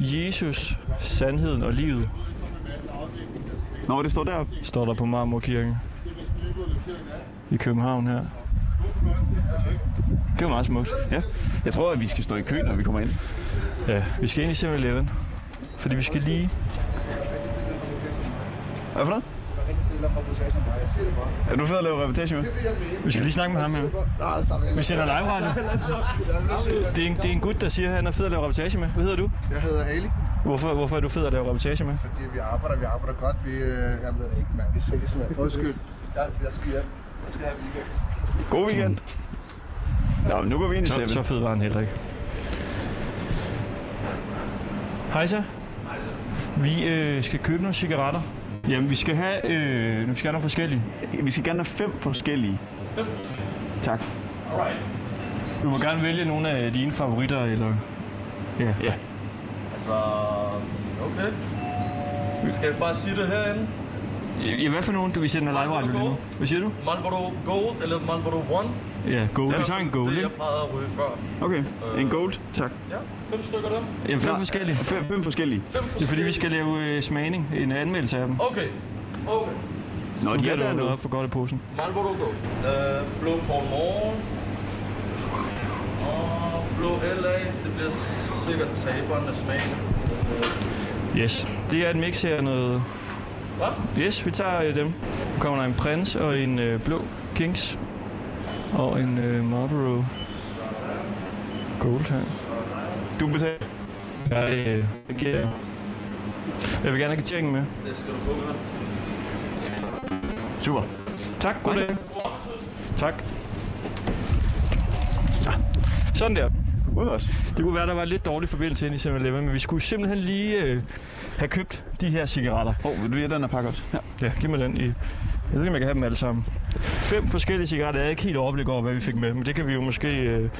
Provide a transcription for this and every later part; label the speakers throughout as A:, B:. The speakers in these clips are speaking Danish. A: Jesus, sandheden og livet,
B: Nå, det står der.
A: står der på Marmorkirken i København her. Det var meget smukt.
B: Ja. Jeg tror, at vi skal stå i kø, når vi kommer ind.
A: Ja, vi skal ind i 7-Eleven, fordi vi skal lige...
B: Hvad for noget? Er du fed at lave reputation med?
A: Vi skal lige snakke med ham her. Vi sender live radio. Det er en, det er en gut, der siger, at han er fed at lave reportage med. Hvad hedder du?
C: Jeg hedder Ali,
A: Hvorfor, hvorfor er du fed at lave reportage med?
C: fordi vi arbejder, vi arbejder godt. Vi, øh, jeg ved det ikke, mand. Vi ses, mand. Undskyld. Jeg, jeg skal hjem. Jeg skal have weekend.
B: God weekend. Nå, men nu går vi ind i
A: Så, så
B: 7.
A: fed var han heller ikke. Hej så. Vi øh, skal købe nogle cigaretter. Jamen, vi skal have, øh, vi skal have nogle forskellige.
B: Vi skal gerne have fem forskellige. Tak.
A: Du må gerne vælge nogle af dine favoritter, eller... Ja.
B: Ja.
D: Så... Okay. Vi skal bare sige det herinde.
A: ja hvad for nogen, du vil sende live radio lige nu? Hvad siger du?
D: Marlboro Gold eller Marlboro One.
A: Ja, gold. Vi tager en gold,
D: Det
A: ikke?
D: jeg plejede at ryge før.
B: Okay. En gold. Tak.
D: Ja, fem stykker af dem.
A: Jamen, fem
B: Nej.
A: forskellige.
B: Øh. Fem, fem forskellige.
D: Fem
A: Det er fordi, vi skal lave øh, smagning, en anmeldelse af dem.
D: Okay. Okay.
B: Nå,
A: Nu
B: de
A: bliver
B: er
A: der
B: der
A: noget
B: nu.
A: op for godt i posen.
D: Marlboro Gold. Uh, blå Cornwall. Og blå LA. Det bliver sikkert taberen af smagen.
A: Yes. Det er et mix her noget...
D: Hvad?
A: Yes, vi tager øh, dem. Nu kommer der en prins og en øh, blå Kings. Og en øh, Marlboro Gold her.
B: Du betaler.
A: Jeg, øh, jeg, giver... jeg vil gerne have tjekken med.
D: Det skal du få med.
B: Super.
A: Tak, god
B: Mange
A: dag. Tak. Sådan der.
B: Ud også.
A: Det kunne være, der var lidt dårlig forbindelse ind i 7-Eleven, men vi skulle simpelthen lige øh, have købt de her cigaretter.
B: Åh, oh, vil du lige have den her pakke også? Ja.
A: Ja, giv mig den i. Jeg ved ikke, om jeg kan have dem alle sammen. Fem forskellige cigaretter. Jeg er ikke helt overblik over, hvad vi fik med, men det kan vi jo måske øh,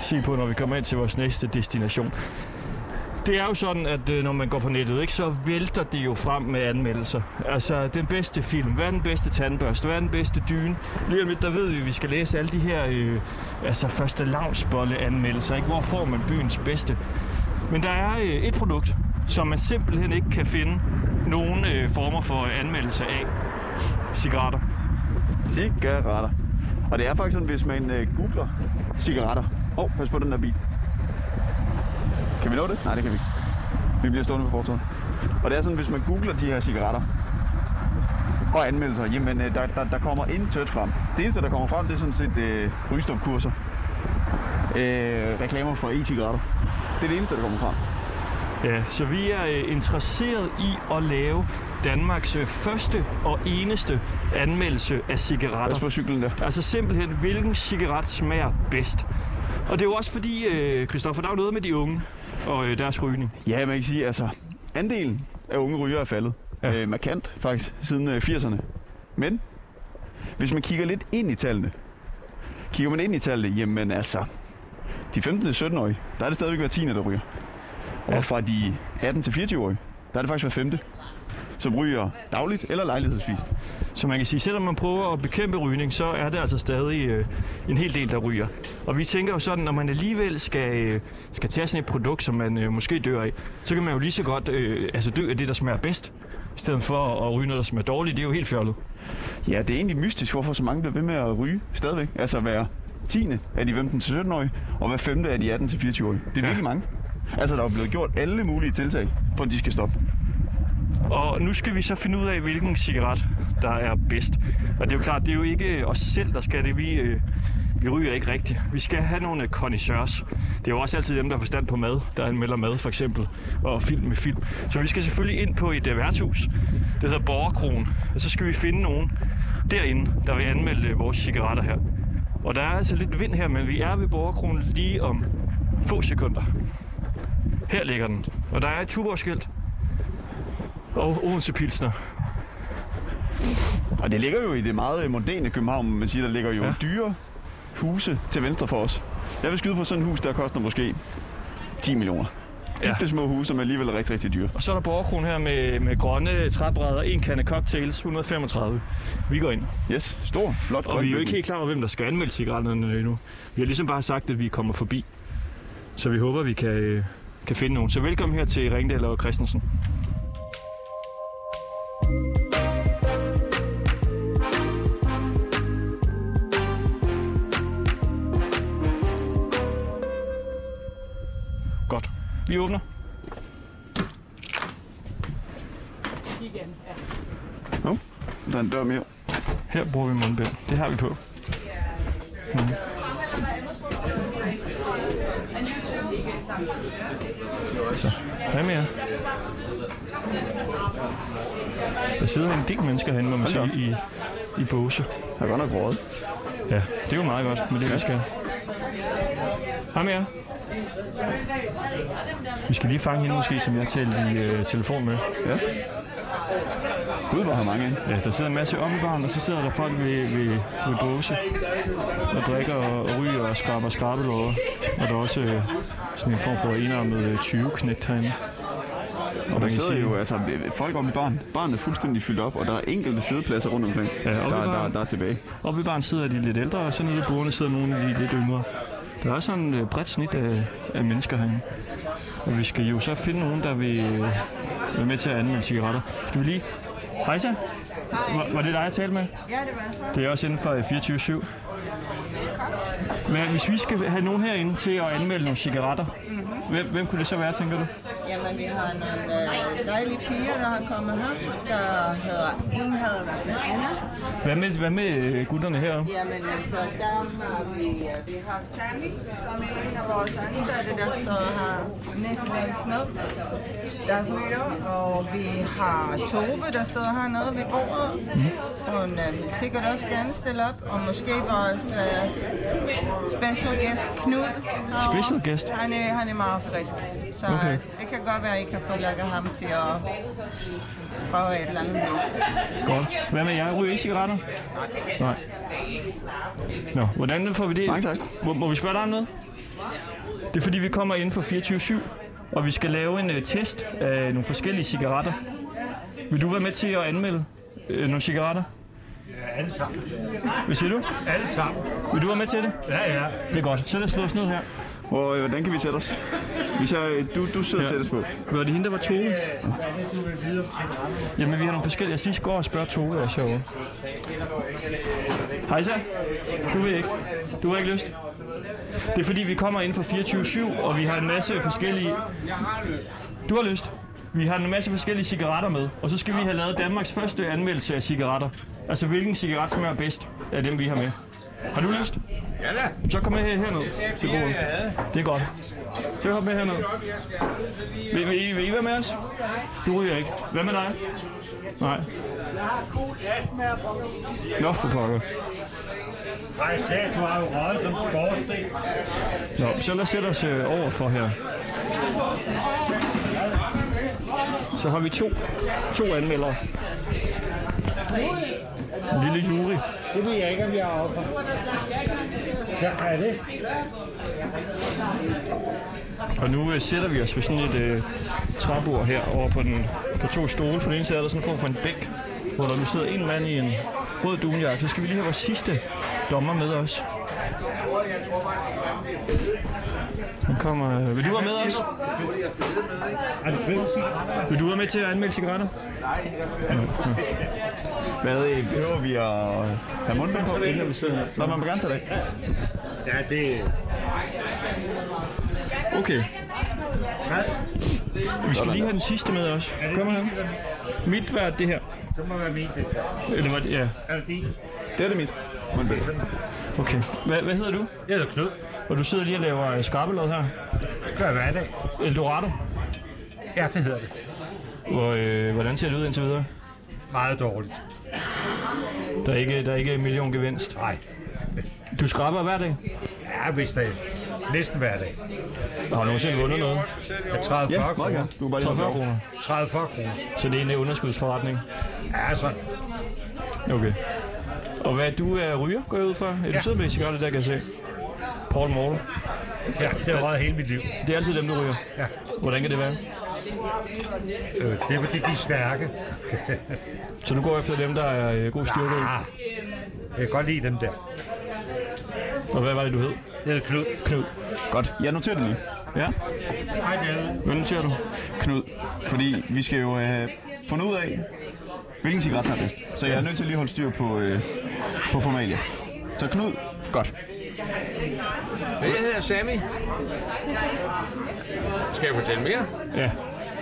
A: se på, når vi kommer ind til vores næste destination. Det er jo sådan, at øh, når man går på nettet, ikke, så vælter det jo frem med anmeldelser. Altså, den bedste film, hvad er den bedste tandbørste, hvad er den bedste dyne? Lige om lidt, der ved vi, at vi skal læse alle de her øh, altså første lavnsbolle anmeldelser. Ikke? Hvor får man byens bedste? Men der er øh, et produkt, som man simpelthen ikke kan finde nogen øh, former for anmeldelse af. Cigaretter.
B: Cigaretter. Og det er faktisk sådan, hvis man øh, googler cigaretter. Åh, oh, pas på den der bil. Kan vi nå det? Nej, det kan vi ikke. Vi bliver stående på fortovet. Og det er sådan, hvis man googler de her cigaretter og anmeldelser, jamen øh, der, der, der kommer intet frem. Det eneste, der kommer frem, det er sådan set øh, rygestopkurser. Øh, reklamer for e-cigaretter. Det er det eneste, der kommer frem.
A: Ja, så vi er øh, interesseret i at lave Danmarks øh, første og eneste anmeldelse af cigaretter.
B: Pas på cyklen der.
A: Altså simpelthen, hvilken cigaret smager bedst. Og det er jo også fordi, øh, Christoffer, der er jo noget med de unge og øh, deres rygning.
B: Ja, man kan sige, altså andelen af unge rygere er faldet
A: Ja.
B: ja. øh, markant faktisk siden øh, 80'erne. Men hvis man kigger lidt ind i tallene, kigger man ind i tallene, jamen altså, de 15-17-årige, der er det stadigvæk hver tiende, der ryger. Og
A: Ja.
B: fra de 18-24-årige, der er det faktisk hver femte, som ryger dagligt eller lejlighedsvist.
A: Så man kan sige, selvom man prøver at bekæmpe rygning, så er der altså stadig øh, en hel del, der ryger. Og vi tænker jo sådan, når man alligevel skal, øh, skal tage sådan et produkt, som man øh, måske dør af, så kan man jo lige så godt øh, altså dø af det, der smager bedst, i stedet for at ryge noget, der smager dårligt. Det er jo helt fjollet.
B: Ja, det er egentlig mystisk, hvorfor så mange bliver ved med at ryge stadigvæk. Altså hver tiende af de 15-17-årige, og hver femte af de 18-24-årige. Det er
A: Ja.
B: ja. virkelig mange. Altså, der er jo blevet gjort alle mulige tiltag, for at de skal stoppe.
A: Og nu skal vi så finde ud af, hvilken cigaret, der er bedst. Og det er jo klart, det er jo ikke os selv, der skal det. Vi, øh, vi ryger ikke rigtigt. Vi skal have nogle øh, connoisseurs. Det er jo også altid dem, der har forstand på mad, der anmelder mad for eksempel, og film med film. Så vi skal selvfølgelig ind på et øh, værtshus, det hedder Borgerkron. Og så skal vi finde nogen derinde, der vil anmelde øh, vores cigaretter her. Og der er altså lidt vind her, men vi er ved Borgerkron lige om få sekunder. Her ligger den. Og der er et tuborgskilt, og Odense Pilsner.
B: Og det ligger jo i det meget øh, mondæne København, man siger, der ligger jo
A: Ja.
B: ja. dyre huse til venstre for os. Jeg vil skyde på sådan et hus, der koster måske 10 millioner.
A: Ja.
B: Ja. Det små hus, som alligevel er rigtig, rigtig dyre.
A: Og så er der borgerkron her med, med grønne træbrædder, en kande cocktails, 135. Vi går ind.
B: Yes, stor, flot.
A: Og
B: grøn
A: vi er jo ikke
B: bygning.
A: helt klar over, hvem der skal anmelde cigaretterne endnu. Vi har ligesom bare sagt, at vi kommer forbi. Så vi håber, vi kan, øh, kan finde nogen. Så velkommen her til Ringdal og Christensen. Godt. Vi åbner.
E: Igen, ja.
B: Hov, der er en dør mere.
A: Her bruger vi mundbind. Det har vi på. Mm. Så, hvad mere? Der sidder en del mennesker herinde, må man sige,
B: da
A: i, i Båse.
B: Der er godt nok råd.
A: Ja, det er jo meget godt med det, vi skal. Hej med jer. Vi skal lige fange hende måske, som jeg talte i øh, telefon med.
B: Gud, hvor har mange ind.
A: Ja, Øh, der sidder en masse ommebørn, og så sidder der folk ved, ved, ved båse og drikker og, og ryger og skraber skrabelåder. Og der er også øh, sådan en form for enarmet 20 knægt herinde.
B: Og der
A: man kan
B: sidder
A: sige-
B: jo altså, folk om i barn. Barnet er fuldstændig fyldt op, og der er enkelte siddepladser rundt omkring, ja,
A: oppe i
B: der, der,
A: baren.
B: der er tilbage.
A: Oppe ved barn sidder de lidt ældre, og så nede ved bordene sidder nogle af de lidt yngre. Der er sådan et bredt snit af, af mennesker herinde. Og vi skal jo så finde nogen, der vil øh, være med til at anmelde cigaretter. Skal vi lige... Hejsa, var, var det dig, jeg talte med?
F: Ja, det var så.
A: Det er også inden for øh, 24-7. Men hvis vi skal have nogen herinde til at anmelde nogle cigaretter, hvem, hvem kunne det så være, tænker du?
F: Jamen, vi har nogle øh, dejlige piger, der har kommet her, der hedder, en hedder i hvert fald Anna.
A: Hvad med, hvad med øh, gutterne herom?
F: Jamen, altså, der har vi, øh, vi har Sami, som er en af vores ansatte, der står her næsten længst ned, der ryger, og vi har Tove, der sidder hernede ved bordet. Hun øh, vil sikkert også gerne stille op, og måske vores øh, special guest Knud. herovre.
A: Special guest?
F: Han er, han er meget frisk, så
A: Okay.
F: okay. det kan godt være, at I kan få lukket ham til at prøve et eller andet. liv.
A: Godt. Hvad med jer? Ryger I cigaretter? Nej. Nå, hvordan får vi det?
B: Mange tak.
A: Må, må vi spørge dig om noget? Det er fordi, vi kommer inden for 24-7, og vi skal lave en øh, test af nogle forskellige cigaretter. Vil du være med til at anmelde øh, nogle cigaretter?
G: Alle sammen.
A: Hvad siger du?
G: Alle sammen.
A: Vil du være med til det?
G: Ja, ja.
A: Det er godt. Så lad os slå os ned her.
B: Hvor, øh, hvordan kan vi sætte os? Hvis jeg, øh, du, du sidder
A: Ja.
B: ja. tættest på.
A: Var det hende, der var Tove?
G: Du vil vide om cigaretter.
A: Jamen, vi har nogle forskellige. Jeg skal lige gå over og spørge Tove og sjove. Hejsa, du vil ikke. Du har ikke lyst. Det er fordi, vi kommer ind fra 24-7, og vi har en masse forskellige... Du har lyst. Vi har en masse forskellige cigaretter med, og så skal vi have lavet Danmarks første anmeldelse af cigaretter. Altså, hvilken cigaret smager bedst af dem, vi har med. Har du lyst?
D: Ja da.
A: Så kom med her, herned til bordet. Det er godt. Så kom med herned. Vil, vil, I, vil I være med os? Du ryger ikke. Hvad med dig? Nej. Nå, for pokker.
G: Nej, sag, du har jo røget som skorsten.
A: Nå, så lad os sætte os øh, over for her. Så har vi to, to anmeldere. En lille jury.
G: Det ved jeg ikke, om jeg er offer. Så er det.
A: Og nu øh, sætter vi os ved sådan et øh, træbord her over på, den, på to stole. På den ene side er der sådan en form for en bænk, hvor der nu sidder en mand i en rød dunjakke. Så skal vi lige have vores sidste dommer med os. Han kommer... øh, Vil du være med os?
G: Er det fede cigaretter?
A: Vil du være med til at anmelde cigaretter?
B: Hvad øh, behøver vi at have mundbind på? Nå, man må gerne tage det. af.
G: Ja, det er...
A: Okay.
G: Hvad?
A: Vi skal lige have den sidste med os. Kom her. Mit var det her.
G: Det må være min, det der.
A: Eller var det... Ja.
G: Er det din?
B: Det er det mit. Mundbind.
A: Okay. Hvad, hvad hedder du?
G: Jeg hedder Knud.
A: Og du sidder lige og laver øh, skrabelod her.
G: Det gør jeg hver dag.
A: Eldorado.
G: Ja, det hedder det.
A: Hvor, øh, hvordan ser det ud indtil videre?
G: Meget dårligt.
A: Der er ikke, der er ikke en million gevinst.
G: Nej.
A: Du skraber hver dag.
G: Ja, hvis det er næsten hver dag.
A: Har du nogensinde vundet noget?
G: Jeg 30
B: Ja,
G: 40
B: meget
G: kroner.
B: gerne. Du kan bare lige
A: 40
B: hoppe over.
A: kroner.
G: 30 40 kroner.
A: Så det er en øh, underskudsforretning.
G: Ja, altså, så.
A: Okay. Og hvad du er ryger, går jeg ud fra? Er du
G: Ja.
A: sidder med en cigaret, der kan jeg se? Paul Morten.
G: Ja, det har røget hele mit liv.
A: Det er altid dem, der ryger.
G: Ja.
A: Hvordan kan det være?
G: Øh, Det er fordi, de er stærke.
A: Så du går efter dem, der er øh, god styrke. i?
G: Ah, jeg kan godt lide dem der.
A: Og hvad var det, du hed?
G: Jeg hedder Knud.
A: Knud.
B: Godt. Jeg noterer det lige.
A: Ja. Hvordan ser du?
B: Knud, fordi vi skal jo øh, finde ud af, hvilken cigaret der er bedst. Så jeg er nødt til lige at holde styr på, øh, på formalia. Så Knud, godt.
H: Jeg hedder Sammy. Skal jeg fortælle mere?
A: Ja.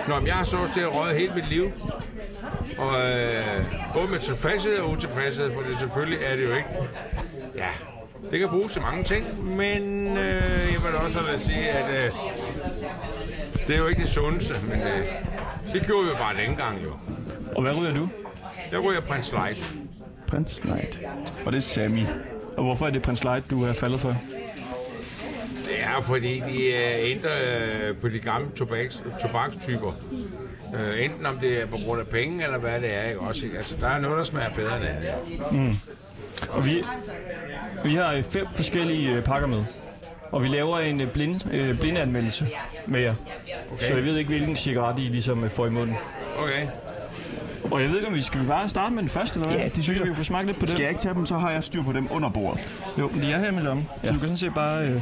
H: Nå, men jeg har så til røget hele mit liv. Og øh, både med tilfredshed og utilfredshed, for det selvfølgelig er det jo ikke. Ja, det kan bruges til mange ting, men øh, jeg vil også lade sige, at øh, det er jo ikke det sundeste, men øh, det gjorde vi jo bare dengang jo.
A: Og hvad ryger du?
H: Jeg ryger Prins Light.
B: Prins Light. Og det er Sammy.
A: Og hvorfor er det Prins Light, du er faldet for?
H: Det er fordi, de øh, ændrer øh, på de gamle tobaks, tobakstyper. Øh, enten om det er på grund af penge, eller hvad det er, ikke også? Ikke? Altså, der er noget, der smager bedre end andet.
A: Og vi, vi har øh, fem forskellige øh, pakker med. Og vi laver en øh, blind, øh, blindanmeldelse med jer. Okay. Så jeg ved ikke, hvilken cigaret I ligesom øh, får i munden.
H: Okay.
A: Og jeg ved ikke, om vi skal vi bare starte med den første, eller hvad?
B: Ja, det synes
A: Så kan
B: jeg.
A: Vi jo få smagt lidt på den.
B: Skal jeg ikke tage dem, så har jeg styr på dem under bordet.
A: Jo, men de er her i min lomme. Ja. Så du kan sådan set bare øh,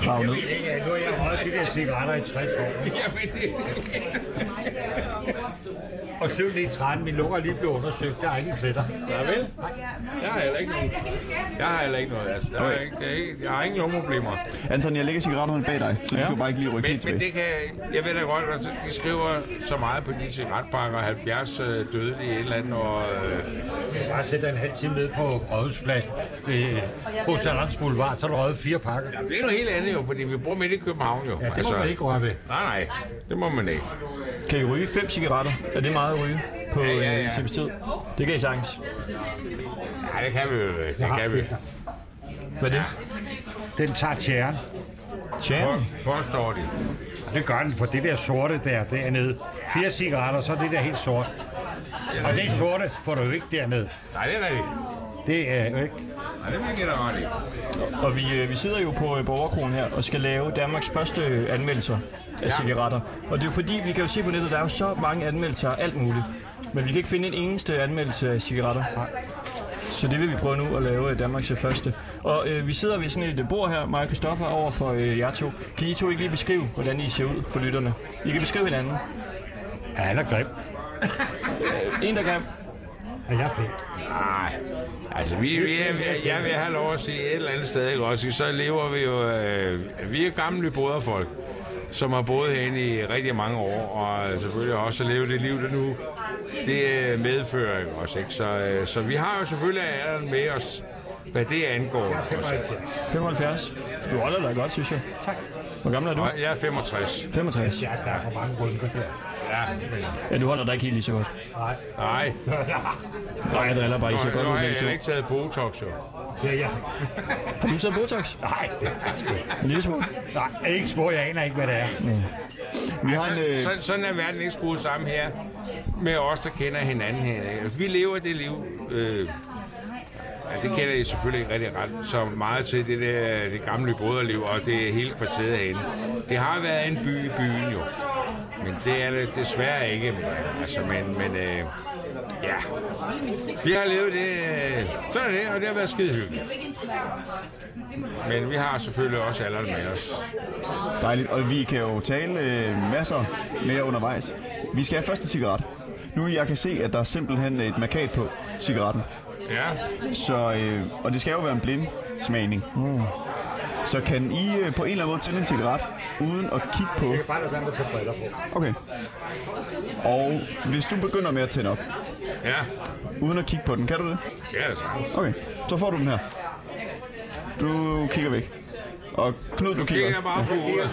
A: grave ned.
I: Nu har jeg holdt de der cigaretter i 60 år.
H: Jamen, det,
I: Og 7 lige 13, min lukker er lige blevet undersøgt. Der er ingen pletter.
H: Ja, vel? Jeg har heller ikke nogen. Jeg har heller ikke noget. Altså. Jeg, har ikke, det er ikke, jeg har ingen lungeproblemer.
B: Anton, jeg lægger cigaretterne bag dig, så du
A: Ja.
B: skal bare ikke lige rykke
H: Men,
B: helt
H: men
B: tilbage.
H: det kan, jeg ved da godt, at de skriver så meget på de cigaretpakker. 70 øh, døde i et eller andet, og øh,
I: Bare sæt dig en halv time ned på Rådhuspladsen ved Hos Alams Boulevard, så er der røget fire pakker.
H: det er noget helt andet jo, fordi vi bor midt i København jo. Altså-
I: Ja, det må man ikke røre ved.
H: Nej, nej, det må man ikke.
A: Kan I ryge fem cigaretter? Er det meget at ryge på ja, ja,
H: ja,
A: ja.
H: ja.
A: en times tid? Det kan I sagtens.
H: Nej, det kan vi jo. Det kan vi.
A: Hvad er det?
I: Den tager tjæren.
A: Tjern.
H: Hvor- Påstår de.
I: Det gør den, for det der sorte der, dernede. Fire cigaretter, så er det der helt sort. Og det sorte får du jo ikke dernede.
H: Nej, det er rigtigt.
I: Det er jo ikke.
H: Nej, det vil jeg give dig ret i.
A: Og vi, øh, vi sidder jo på øh, Borgerkronen her og skal lave Danmarks første øh, anmeldelser af ja. cigaretter. Og det er jo fordi, vi kan jo se på nettet, at der er jo så mange anmeldelser af alt muligt. Men vi kan ikke finde en eneste anmeldelse af cigaretter. Så det vil vi prøve nu at lave øh, Danmarks første. Og øh, vi sidder ved sådan et øh, bord her, mig og Christoffer, over for øh, jer to. Kan I to ikke lige beskrive, hvordan I ser ud for lytterne? I kan beskrive hinanden.
I: Ja, han er grim.
A: En, der kan.
I: Og jeg er pæn.
H: Nej, altså vi, vi er, jeg vil have lov at sige et eller andet sted, ikke også? Så lever vi jo, øh, vi er gamle broderfolk, som har boet herinde i rigtig mange år, og øh, selvfølgelig også at leve det liv, der nu det øh, medfører, ikke også? Ikke? Så, øh, så vi har jo selvfølgelig alderen med os, hvad det angår. ikke også?
A: 75. Du holder dig godt, synes jeg. Tak. Hvor gammel er du?
H: Og jeg er 65.
A: 65.
I: Ja, der er for mange rynker der.
H: Ja.
A: Ja, du holder dig ikke helt lige så godt.
I: Nej.
H: Nej,
A: Nej, jeg driller bare. I
H: nu,
A: ser godt
H: nu
A: ud
H: har
A: begge
H: jeg
A: to.
H: ikke taget Botox, jo.
I: Ja, ja.
A: Har du taget Botox?
I: Nej,
A: En lille smule.
I: nej, ikke spor. Jeg aner ikke, hvad det er.
B: Vi har en, øh,
H: Sådan, sådan er verden ikke skruet sammen her med os, der kender hinanden her. ikke? Altså, Vi lever det liv. Øh, ja, det kender I selvfølgelig ikke rigtig ret så meget til, det, der, det gamle broderliv og det hele kvarteret herinde. Det har været en by i byen jo. Men det er det desværre ikke. Men, altså, men, men øh, ja. Vi har levet det. øh, Sådan er det, og det har været skide hyggeligt. Men vi har selvfølgelig også alderen med os.
B: dejligt, og vi kan jo tale øh, masser mere undervejs. Vi skal have første cigaret. Nu jeg kan se, at der er simpelthen et markat på cigaretten.
H: Ja.
B: Så, øh, og det skal jo være en blind smagning. Mm. Så kan I øh, på en eller anden måde tænde en cigaret, uden at kigge på...
I: Bare lad være med at tage briller på.
B: Okay. Og hvis du begynder med at tænde op,
H: Ja.
B: uden at kigge på den, kan du det?
H: Ja, altså.
B: Okay, så får du den her. Du kigger væk. Og Knud, du
H: Det
B: kigger
H: er
B: også.
H: bare på hovedet.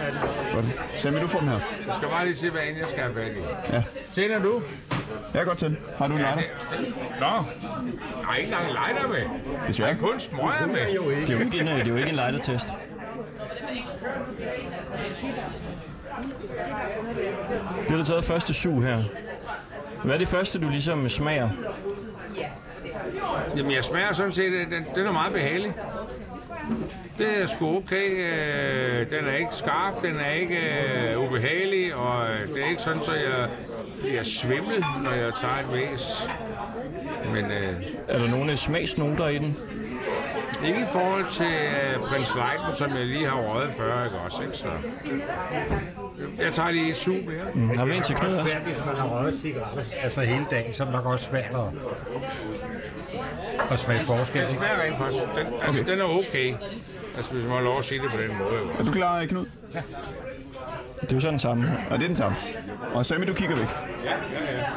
B: Godt. Sammy, du får den her.
H: Jeg skal bare lige se, hvad end jeg skal have fat i.
B: Ja,
H: Tænder du?
B: jeg kan godt tænde. Har du en lighter?
H: Nå, jeg har ikke engang lighter med.
B: Desværre.
H: Jeg har kun smøger med.
A: Det er jo ikke en, øh, det er jo ikke en lighter-test. Det har taget første sug her. Hvad er det første, du ligesom smager?
H: Jamen, jeg smager sådan set, øh, den, den er meget behagelig. Det er sgu okay. øh, Den er ikke skarp, den er ikke øh, ubehagelig, og øh, det er ikke sådan, så jeg bliver svimmel, når jeg tager et væs. Men øh,
A: øh, Er der nogle smagsnoter i den?
H: Ikke i forhold til øh, prins Leitner, som jeg lige har røget før, ikke også? Ikke? Så. Jeg tager lige et sug mere.
A: Mm, har vi en til knæet også?
I: også svært, hvis man har røget cigaretter altså hele dagen, så er det nok også svært at, at smage forskel.
H: Den
I: Ikke?
H: smager rent faktisk. Den, okay. altså, den er okay. Altså, hvis man har lov at sige det på den måde. jo.
B: Er du klar, Knud?
A: Det er jo sådan den samme.
B: Og det er den samme. Og Sammy, du kigger væk.
H: Ja, ja, ja. Jeg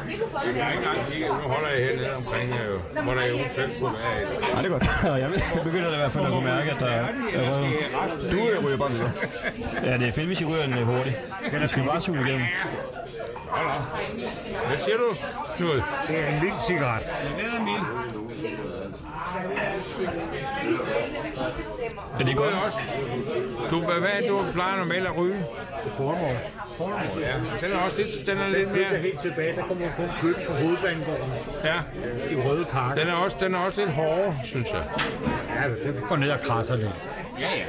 H: har ikke engang kigget. Nu holder jeg hernede omkring, øh, hvor der eventuelt kunne være et.
B: Nej, det er godt.
A: Nå, jeg, ved, jeg begynder da i hvert fald at kunne mærke, at der er
H: Ellers skal
A: røget.
H: jeg resten.
B: Du øh, ryger bare videre.
A: Ja, det er fedt, hvis I ryger den øh, hurtigt. Den skal bare suge igennem.
H: Hold op. Hvad siger du? Nu,
I: Det er en vild cigaret.
H: det er min.
A: Er det
H: Du
A: godt?
H: er også. Du, hvad hvad er det, du plejer normalt at ryge?
I: Bormors.
H: Ja, den er også lidt, den er lidt
I: Det er
H: mere,
I: helt tilbage, der kommer man kun købe på hovedbanegården
H: ja,
I: i Røde Park.
H: den er også, den er også lidt hårdere, synes jeg.
I: Ja, det går ned og krasser lidt.
H: Ja, ja.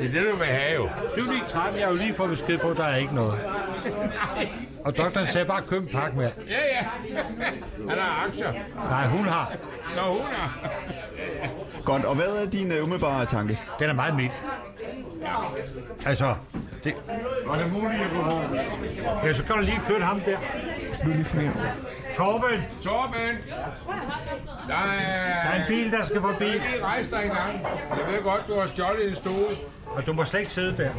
H: Det er det, du vil have jo.
I: 7.13, jeg har jo lige fået besked på, at der er ikke noget. Og doktoren sagde bare, køb en pakke mere.
H: Ja, ja. Han har aktier.
I: Nej, hun har.
H: Nå, hun har.
B: Godt, og hvad er din øh, umiddelbare tanke?
I: Den er meget mild. Altså, det... Var det muligt, at Ja, så kan du lige flytte ham der.
B: Du lige forbi.
I: Torben,
H: Torben! Der
I: der er en
H: er...
I: bil, der skal forbi.
H: Ikke rejse dig engang. Jeg ved godt, du har stjålet en stol.
I: Og du må slet ikke sidde der.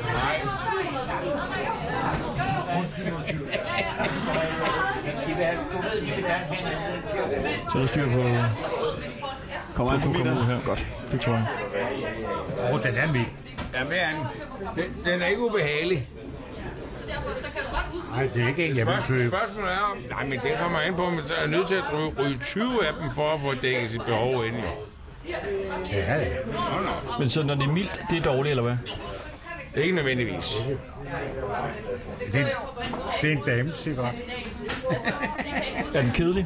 A: Så er der styr på... øh,
B: Kommer han
A: Du
B: forbi
A: kommer ud her.
B: dig? Godt.
A: Det tror jeg.
I: Åh, oh, den er mild.
H: Ja, med anden. Den, den er ikke ubehagelig.
I: Nej, det er ikke en, jeg vil
H: Spørg-
I: købe.
H: Spørgsmålet er om... Nej, men det kommer an på, om jeg er nødt til at ryge, ryge 20 af dem for at få dækket sit behov ind. Jo.
I: Ja, ja.
A: Men så når det er mildt, det er dårligt, eller hvad?
H: Ikke nødvendigvis.
I: Det, er en- det er en damecigaret.
A: Er den kedelig?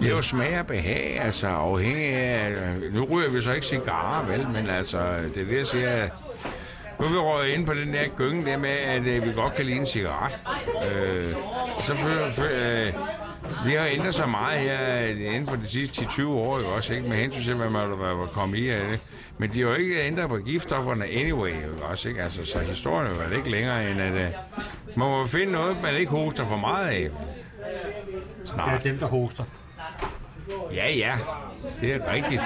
H: Det er jo smag og behag, altså afhængig af... Nu ryger vi så ikke cigarer, vel, men altså, det er det, jeg siger. Nu er vi røget ind på den der gynge der med, at øh, vi godt kan lide en cigaret. Øh, og så føler jeg, øh, det har ændret sig meget her øh, inden for de sidste 10-20 år, ikke også, ikke? Med hensyn til, hvad man var var kommet i af det. Men de har jo ikke ændret på giftstofferne anyway, ikke også, ikke? Altså, så historien er vel ikke længere end, at øh, man må finde noget, man ikke hoster for meget af.
I: Det
H: Snart.
I: er dem, der hoster.
H: Ja, ja. Det er rigtigt.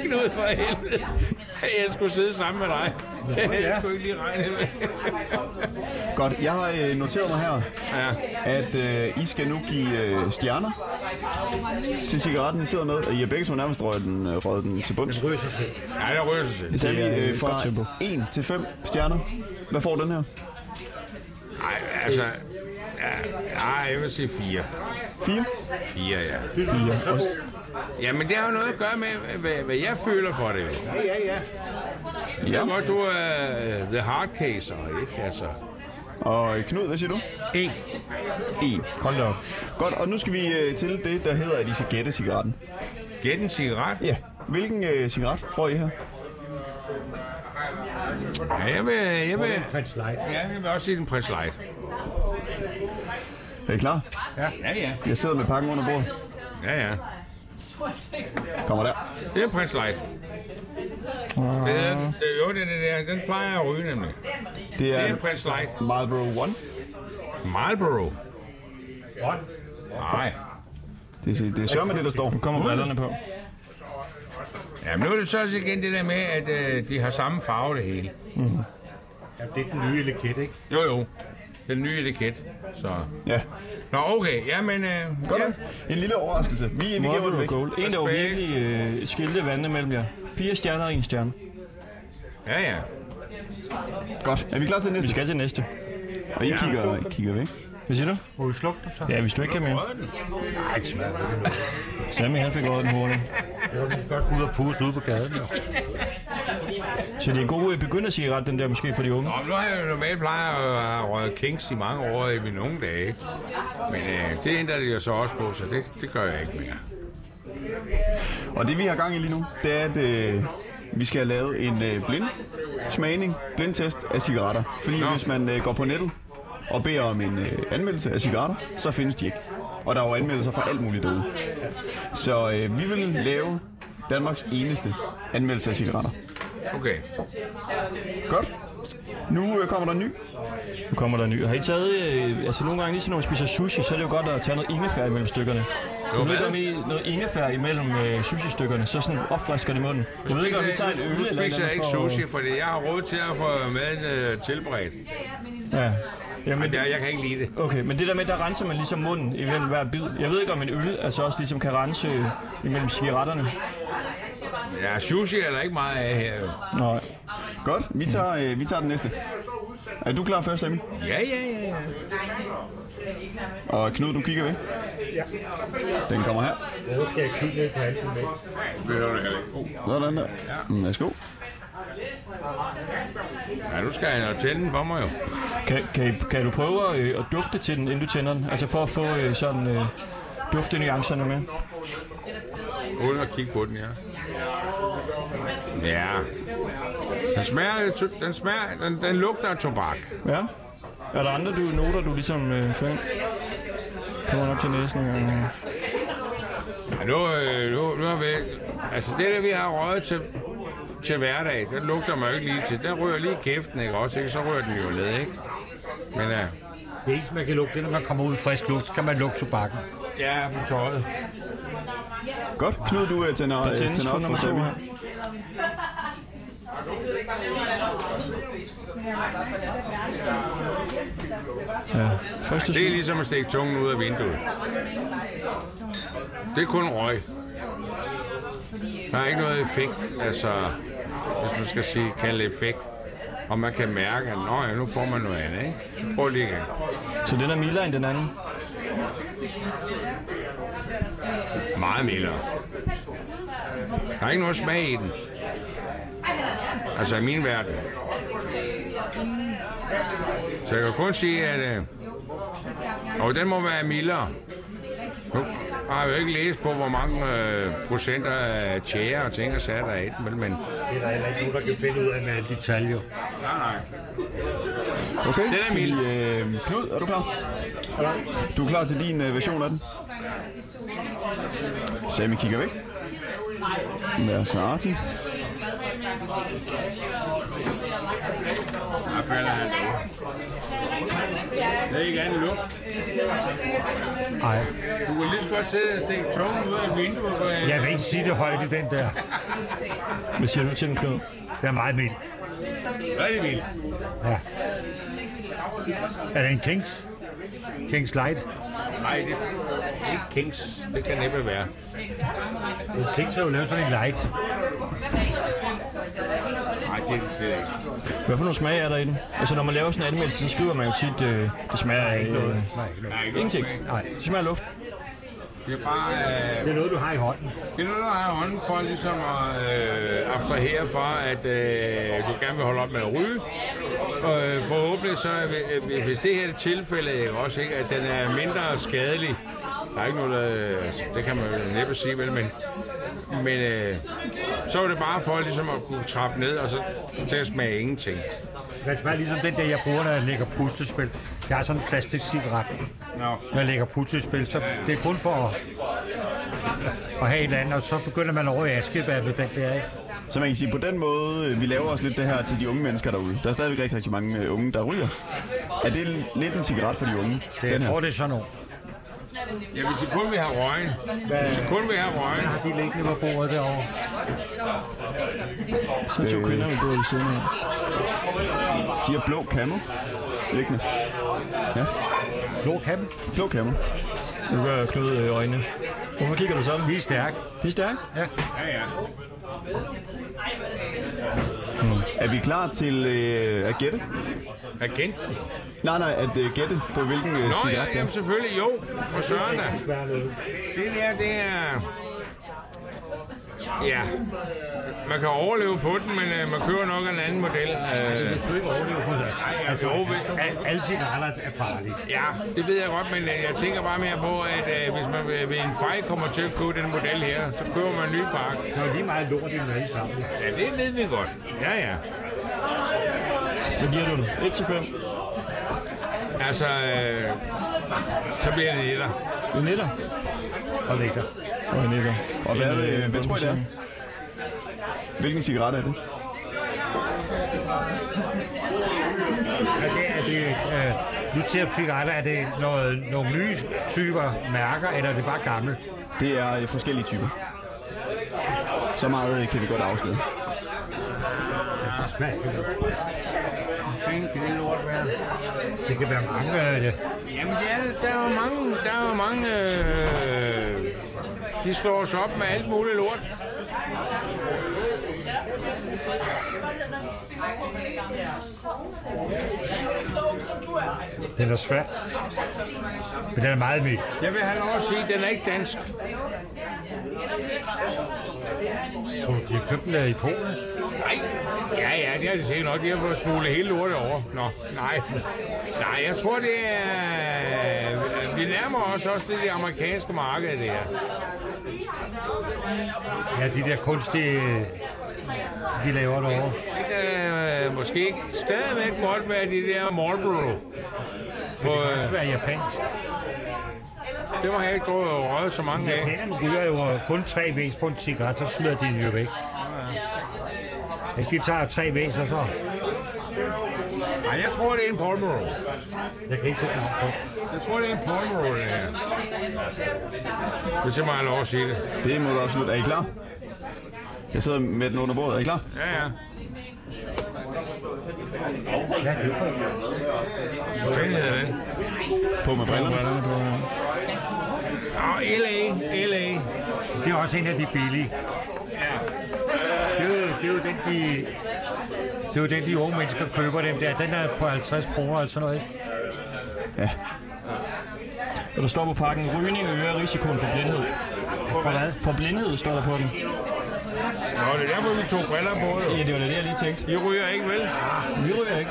H: Knud for helvede. Jeg skulle sidde sammen med dig. Jeg skulle ikke lige regne med.
B: Godt, jeg har øh, noteret mig her,
H: Ja.
B: at øh, I skal nu give øh, stjerner til cigaretten, I sidder med. Og I har begge to nærmest røget den, øh, røget den til bunds.
H: Nej, der ryger sig selv.
B: Sammy,
A: Det er
B: øh, fra
A: godt tempo.
B: 1 til 5 stjerner. Hvad får den her?
H: Nej, altså... Ja, nej, jeg vil sige fire.
B: 4?
H: Fire, ja.
A: Fire. Også.
H: Jamen, det har jo noget at gøre med, hvad, hvad jeg føler for det. jo.
B: Ja.
H: Jeg ved godt, du er øh, the hard caser, ikke? Altså,
B: Og øh, Knud, hvad siger du?
I: En.
B: 1.
A: Hold da op.
B: Godt, og nu skal vi øh, til det, der hedder, at I skal gætte cigaretten.
H: gæt en cigaret.
B: Ja. Hvilken øh, cigaret får I her?
H: Ja, jeg vil, jeg vil,
I: Prins Light.
H: ja, jeg vil også sige den prins light.
B: Er I klar?
H: Ja, ja.
B: Jeg sidder med pakken under bordet.
H: Ja, ja.
B: Kommer der.
H: Det er Prins Light.
B: Ah.
H: Det er, det, jo, det er det der. Den plejer jeg at ryge nemlig.
B: Det
H: Det
B: er
H: er Prins Light.
B: Marlboro One.
H: Marlboro. Nej.
B: Det er, det er sørme det, der står.
A: Nu kommer brillerne på.
H: Ja, men nu er det så også igen det der med, at øh, de har samme farve det hele.
I: Ja, det er den nye etiket, ikke?
H: Jo, jo. Den nye etiket. Så.
B: Ja.
H: Nå, okay. Jamen, øh,
B: Godt
H: ja.
B: nok. En lille overraskelse. Vi, vi gemmer den
A: Marlboro
B: væk.
A: Gold. En, der jo
H: Respekt.
A: virkelig øh, skilte vandene mellem jer. Fire stjerner og en stjerne.
H: ja, ja.
B: Godt. Er vi klar til
A: Vi
B: næste?
A: skal til næste.
B: Og I kigger, kigger væk.
A: Hvad siger du?
I: Må vi slukke den så?
A: Ja, hvis du ikke kan mere.
H: Rød den.
A: Sammy, han fik røget den hurtigt.
I: Jeg vil lige så godt gå ud og puste ude på gaden. jo.
A: Så det er en god øh, begyndercigaret, den der måske for de unge.
H: Nå, men nu har jeg jo normalt plejer at have røget Kings i mange år i mine unge dage. Men øh, det ændrer det jo så også på, så det, det gør jeg ikke mere.
B: Og det vi har gang i lige nu, det er, at øh, vi skal have lavet en øh, blind smagning, blindtest af cigaretter. Fordi
H: Nå.
B: hvis man øh, går på nettet og beder om en øh, anmeldelse af cigaretter, så findes de ikke. Og der er jo anmeldelser fra alt muligt derude. Så øh, vi vil lave Danmarks eneste anmeldelse af cigaretter.
H: Okay.
B: Godt. Nu øh, kommer der en ny.
A: Nu kommer der en ny. Har I taget, øh, altså nogle gange, ligesom når man spiser sushi, så er det jo godt at tage noget ingefær imellem stykkerne. Jeg ved
H: hvad?
A: ikke, om I noget ingefær imellem øh, sushi-stykkerne, så sådan opfrisker det munden. Jeg ved ikke, om I tager et øl
H: Nu
A: eller et
H: spiser
A: eller
H: jeg ikke
A: andet for-
H: sushi, fordi jeg har råd til at få maden øh, tilberedt.
A: Ja. Jamen,
H: Men
A: det,
H: jeg, jeg kan ikke lide det.
A: okay, men det der med, der renser man ligesom munden imellem hver bid. Jeg ved ikke, om en øl altså også ligesom kan rense øh, imellem cigaretterne.
H: Ja, sushi er der ikke meget af her. jo.
A: Nej.
B: Godt, vi tager, øh, vi tager den næste. Er du klar først, Emil?
H: Ja, ja, ja. ja.
B: Og Knud, du kigger væk. Ja. Den kommer her.
I: Nu skal jeg kigge lidt på alt det med.
H: Behøver du heller ikke. Uh.
B: Sådan der. Mm, Værsgo.
H: Ja, nu skal jeg jo tænde den for mig jo.
A: Kan, kan, I- kan du prøve at, øh, at dufte til den, inden du tænder den? Altså for at få øh, sådan øh, duftenuancerne med.
H: Uden at kigge på den, ja. Ja. Den smager, jo to- den, smager, den, den lugter af tobak.
A: Ja. Er der andre du noter, du ligesom øh, får ind? Kommer nok til næsen. Øh.
H: Ja, nu, øh, nu, nu har vi... Altså, det der, vi har røget til, til hverdag, den lugter man jo ikke lige til. Den rører lige i kæften, ikke også? Ikke? Så rører den jo led, ikke? Men ja,
I: Det eneste, man kan lugte, det er, når man kommer ud i frisk luft, så kan man lugte tobakken.
H: ja på tøjet.
B: Godt, Knud, du øh, tænder,
A: Der
B: øh,
A: tændes
B: tænder
A: for
B: op for
A: nummer to
B: Sammy.
A: her. Ja. Første
H: Det er
A: syn.
H: ligesom at stikke tungen ud af vinduet. Det er kun røg. Der er ikke noget effekt, altså, hvis man skal sige, kalde det effekt. Og man kan mærke, at "Nå ja, nu får man noget andet, ikke? Prøv lige igen.
A: Så den er mildere end den anden.
H: Meget mildere. Der er ikke noget smag i den. Altså i min verden. Så jeg kan kun sige, at... Øh, og den må være mildere. Nu har jeg jo ikke læst på, hvor mange øh, procenter af tjære og ting og sager, der er i den, vel, men...
I: Det er der heller ikke nogen, der kan finde ud af med alle detaljer.
H: Nej, nej.
B: Okay,
H: Den er
B: skal vi,
H: mild.
B: øh, Knud, er du klar? Du er klar til din øh, version af den? Sammy kigger væk. Lad os artig.
H: Der falder han over. Det er ikke andet luft.
I: Nej,
H: Du kan lige så godt sidde og stikke tungen ud af vinduet. Øh.
I: jeg vil ikke sige det højt i den der.
A: Hvad siger du til den, Knud?
I: Det er meget mild.
H: Rigtig vildt.
I: Ja. Er det en Kings? Kings Light?
H: Nej, det er ikke Kings. Det kan næppe være.
I: Kings har jo lavet sådan en light.
H: Nej, det er det slet ikke.
A: Hvad for nogle smage er der i den? Altså når man laver sådan en anmeldelse, så skriver man jo tit, øh, det smager af
I: Ikke
A: øh,
I: noget. Nej, ikke noget.
H: Nej, ikke
A: ingenting.
H: noget smag.
A: Nej. Det smager af luft.
H: Det er bare... Øh,
I: Det er noget, du har i hånden.
H: det er noget, der har i hånden for ligesom at øh, abstrahere for, at øh, du gerne vil holde op med at ryge. Og øh, forhåbentlig så, er vi- øh, hvis det her er tilfældet, ikke også ikke, at den er mindre skadelig. Der er ikke noget, der, altså, det kan man jo næppe sige, vel, men, men øh, så er det bare for ligesom at kunne trappe ned og så til at smage ingenting.
I: Det smager ligesom den der, jeg bruger, når jeg lægger puslespil. Jeg har sådan en plastikcigaret.
H: Nå.
I: Når jeg lægger puslespil, så det er kun for at, at have et eller andet, og så begynder man over i askebær med den der, ikke?
B: Så man kan sige, på den måde, øh, vi laver også lidt det her til de unge mennesker derude. Der er stadigvæk rigtig, rigtig mange øh, unge, der ryger. Er det lidt en cigaret for de unge?
I: Det,
B: Den
I: jeg
B: her.
I: tror, det er sådan noget.
H: Ja, hvis de kun vil have røgen. Hvis de kun vil have røgen.
I: Har de liggende på bordet derovre?
A: Så to kvinder, vi bor ved siden af.
B: Øh, De har blå camo liggende.
I: Blå kamp.
B: Blå camo.
A: Nu gør Knud øh, øjne. Hvorfor kigger du sådan?
I: Vi er stærke.
A: De er stærke.
H: Ja, ja.
B: Er vi klar til øh, at gætte?
H: Agent.
B: Nej, nej, at øh, gætte på hvilken øh,
H: Nå ja,
B: cigaret det er.
H: jamen selvfølgelig, jo. For søren da. Det der, det er... Ja, man kan overleve på den, men øh, man køber nok en anden model. Øh,
I: Du ikke overleve på det. Altså,
H: jo, hvis-
I: al- alle cigaretter er farlige.
H: ja, det ved jeg godt, men øh, jeg tænker bare mere på, at øh, hvis man ved ved en fejl kommer til at købe den model her, så køber man en ny pakke.
I: Der er jo lige meget lort i dem alle sammen.
H: Ja, det ved vi godt. Ja, ja.
A: Hvad giver du den? 1 til 5.
H: Altså, øh, så bliver det etter.
A: En etter.
I: Og lækker.
A: Og en etter.
B: Og hvad,
A: En,
B: øh, hvad tror I, det er? Hvilken cigaret er det?
I: Er det, er det, øh, nu siger jeg cigaretter, er det noget, nogle nye typer mærker, eller er det bare gamle?
B: Det er øh, forskellige typer. Så meget øh, kan vi godt afsløre.
I: Det smager ikke godt. Det kan være mange øh, af det.
H: Jamen, det er, det. der er jo mange, der er jo mange øh, de slår os op med alt muligt lort.
I: Den er svær. Men den er meget mild.
H: Jeg vil have lov at sige, at den er ikke dansk.
I: Tror du, de har købt den der i Polen?
H: Nej. Ja, ja, det har de sikkert nok. De har fået smuglet hele lortet over. Nå, nej. Nej, jeg tror, det er... Vi nærmer os også det, det amerikanske marked, det her.
I: Ja, de der kunstige, de laver derovre.
H: Det kan øh, måske ikke stadigvæk godt være de der Marlboro. På,
I: Det kan
H: øh,
I: også være japansk.
H: det må jeg ikke gå og røget så mange af.
I: Japanerne ryger jo kun tre væs på en cigaret, så smider de den jo væk. Ja, de tager tre væs, og så...
H: Nej, jeg tror, det er en Marlboro.
I: Jeg kan ikke sætte mig på.
H: Jeg tror, det er en Marlboro, det her. Hvis jeg må have lov at sige det.
B: Det må du absolut. Er I klar? Jeg sidder med den under bordet. Er I klar?
H: Ja, ja.
I: Hvad er det for?
H: Hvad fanden hedder den?
B: På med brillerne.
A: Brillerne på, ja.
H: Nå, LA, LA.
I: Det er også en af de billige. Det er jo, det er jo den, de... Det er jo den, de unge mennesker køber, dem der. Den er på 50 kroner eller sådan noget. ikke?
B: Ja.
A: Og der står på pakken, rygning øger risikoen for blindhed.
I: For hvad?
A: For blindhed står der på den.
H: Nå, det er derfor, vi tog briller på, jo.
A: Ja, det var da det, jeg lige tænkte.
H: I ryger ikke, vel?
A: Vi ryger ikke.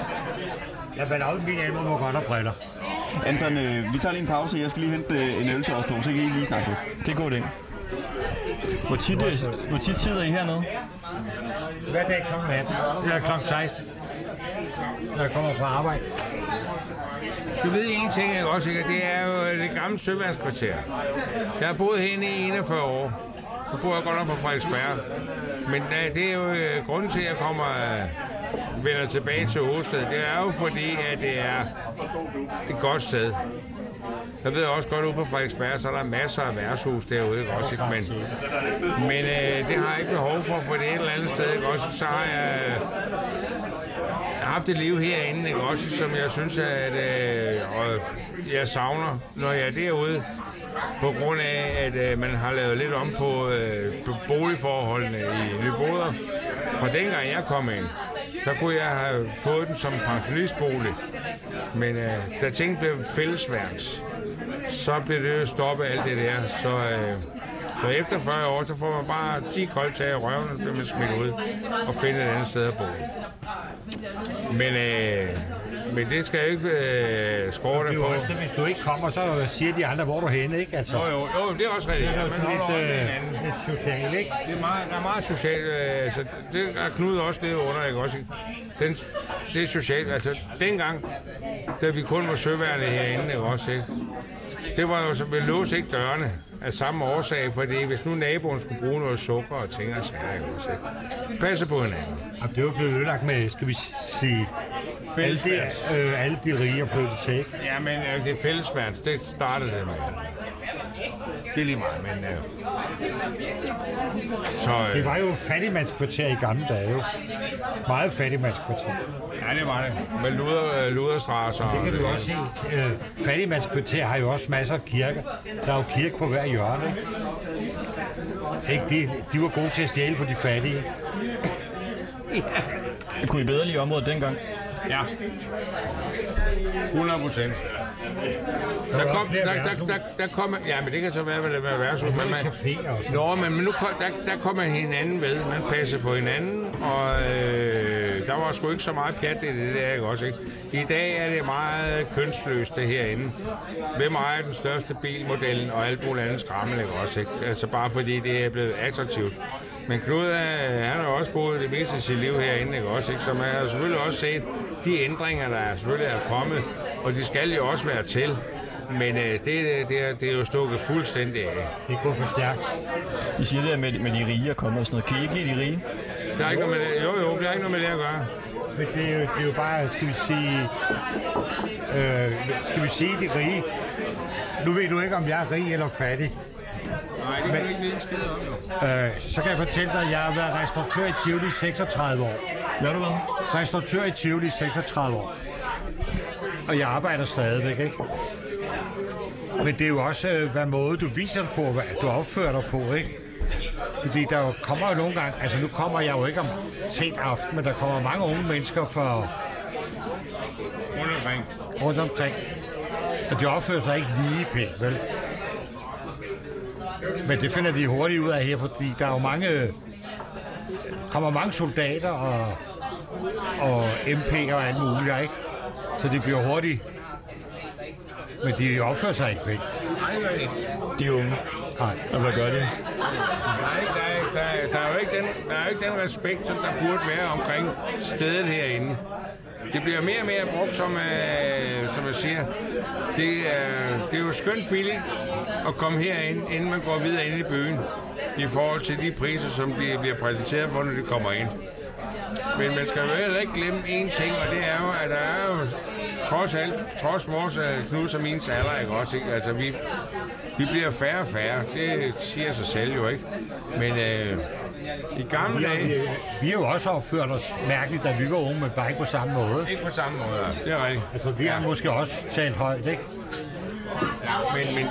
I: Ja, men også min almer må godt have briller.
B: Anton, øh, vi tager lige en pause. Jeg skal lige hente øh, en øl til os to, så kan I lige snakke lidt.
A: Det er god idé. Hvor tit, øh, hvor tit sidder I hernede?
I: Hver dag kl. 18. Eller kl. 16. Når jeg kommer fra arbejde.
H: Du ved en ting, jeg også ikke? Det er jo øh, det gamle søværnskvarter. Jeg har boet herinde i 41 år. Nu bor jeg godt nok på Frederiksberg. Men øh, det er jo øh, grunden til, at jeg kommer øh, vender tilbage til Åsted. Det er jo fordi, at det er et godt sted. Jeg ved også godt, at ude på Frederiksberg, så er der masser af værtshus derude, ikke også? Ikke? Men, men øh, det har jeg ikke behov for, for det er et eller andet sted, ikke også? Så har jeg... Øh, har haft et liv herinde, ikke? også som jeg synes, at øh, og jeg savner, når jeg er derude, på grund af, at øh, man har lavet lidt om på, øh, på boligforholdene i Nyboder. Fra dengang jeg kom ind, der kunne jeg have fået den som pensionistbolig, men øh, da ting blev fællesværks, så blev det jo stoppet alt det der, så... Øh, så efter 40 år, så får man bare 10 koldt tag i røven, og så bliver man smidt ud og finder et andet sted at bo. Men, øh, men det skal jeg ikke øh, skåre
I: Det er
H: dig
I: jo
H: på.
I: også det, hvis du ikke kommer, så siger de andre, hvor er du henne, ikke? Altså,
H: Jo, jo, jo, det er også rigtigt.
I: det er
H: Ja,
I: jo
H: man
I: sådan
H: holder
I: lidt,
H: øje med
I: øh,
H: hinanden.
I: lidt socialt, ikke?
H: Det er meget, der er meget socialt, øh, så det er Knud også lidt under, ikke også? ikke? Den, det er socialt, altså dengang, da vi kun var søværende herinde, ikke også, ikke? Det var jo så, vi låste ikke dørene af samme årsag, fordi hvis nu naboen skulle bruge noget sukker og ting og sager, ikke også, ikke? Passe på hinanden.
I: Jamen, det er jo blevet ødelagt med, skal vi sige, alle de, øh, alle de rige er flyttet til, ikke?
H: Ja, men øh, det er fællesværds, det startede det med. Det er lige meget, men... Øh. Så, øh,
I: Det var jo fattigmandskvarter i gamle dage, jo. Meget fattigmandskvarter.
H: ja, det var det. Med luder, øh, luderstrasser.
I: Det kan du også se. Øh, fattigmandskvarter har jo også masser af kirker. Der er jo kirke på hver hjørne, ikke? ikke de, de var gode til at stjæle for de fattige.
A: Det kunne I bedre lide området dengang.
H: Ja. 100 procent. Der kom,
I: flere
H: der, der,
I: værtshus.
H: der, der kommer, ja, men det kan så være, hvad det er værtshus. Men man,
I: caféer og sådan
H: Nå, men men nu kom, der, der kommer hinanden ved. Man passer på hinanden, og øh, der var sgu ikke så meget pjat i det der, ikke også? Ikke? I dag er det meget kønsløst, det herinde. Hvem ejer den største bilmodellen og alt muligt andet skrammel, ikke også? Ikke? Altså bare fordi det er blevet attraktivt. Men Knud, øh, han har jo også boet det meste af sit liv herinde, ikke også? Ikke? Så man har selvfølgelig også set de ændringer, der er selvfølgelig er kommet, og de skal jo også være til. Men øh, det, det, er, det er jo stukket fuldstændig af.
I: Det går for stærkt.
A: I siger det der med, med de rige at komme og sådan noget. Kan I ikke lide de rige?
H: Der er ikke noget med det. Jo, jo, der er ikke noget med det at gøre.
I: Men det er jo, det er jo bare, skal vi sige, øh, skal vi sige de rige. Nu ved du ikke, om jeg er rig eller fattig.
H: Nej, det
I: kan du
H: ikke vide en skid om.
I: Øh, så kan jeg fortælle dig, at jeg har været restauratør i Tivoli i 36 år.
A: Hvad har du været?
I: Restauratør i Tivoli i 36 år. Og jeg arbejder stadigvæk, ikke? Men det er jo også, øh, hvad måde du viser dig på, hvad du opfører dig på, ikke? Fordi der jo kommer jo nogle gange, altså nu kommer jeg jo ikke om sent aften, men der kommer mange unge mennesker fra
H: Rundt omkring.
I: rundt omkring. Og de opfører sig ikke lige pænt, vel? Men det finder de hurtigt ud af her, fordi der er jo mange... øh, kommer mange soldater og, og MP'er og alt muligt, der, ikke? Så det bliver hurtigt. Men de opfører sig ikke pænt.
A: De er unge.
I: Nej.
A: Og hvad gør de?
H: Nej, der er, der, er, der, er jo ikke den, der er jo ikke den respekt, som der burde være omkring stedet herinde. Det bliver mere og mere brugt, som, øh, som jeg siger. Det, øh, det er jo skønt billigt at komme herind, inden man går videre ind i byen, i forhold til de priser, som de bliver præsenteret for, når de kommer ind. Men man skal jo heller ikke glemme én ting, og det er jo, at der er jo trods alt, trods vores øh, Knuds og min alder, ikke også, ikke? Altså, vi, vi bliver færre og færre. Det siger sig selv jo, ikke? Men øh, i gamle dage,
I: Vi har jo også opført os mærkeligt, da vi var unge, men bare ikke på samme måde.
H: ikke på samme måde. Det er rigtigt.
I: Altså, vi har måske også talt højt, ikke?
H: Men, men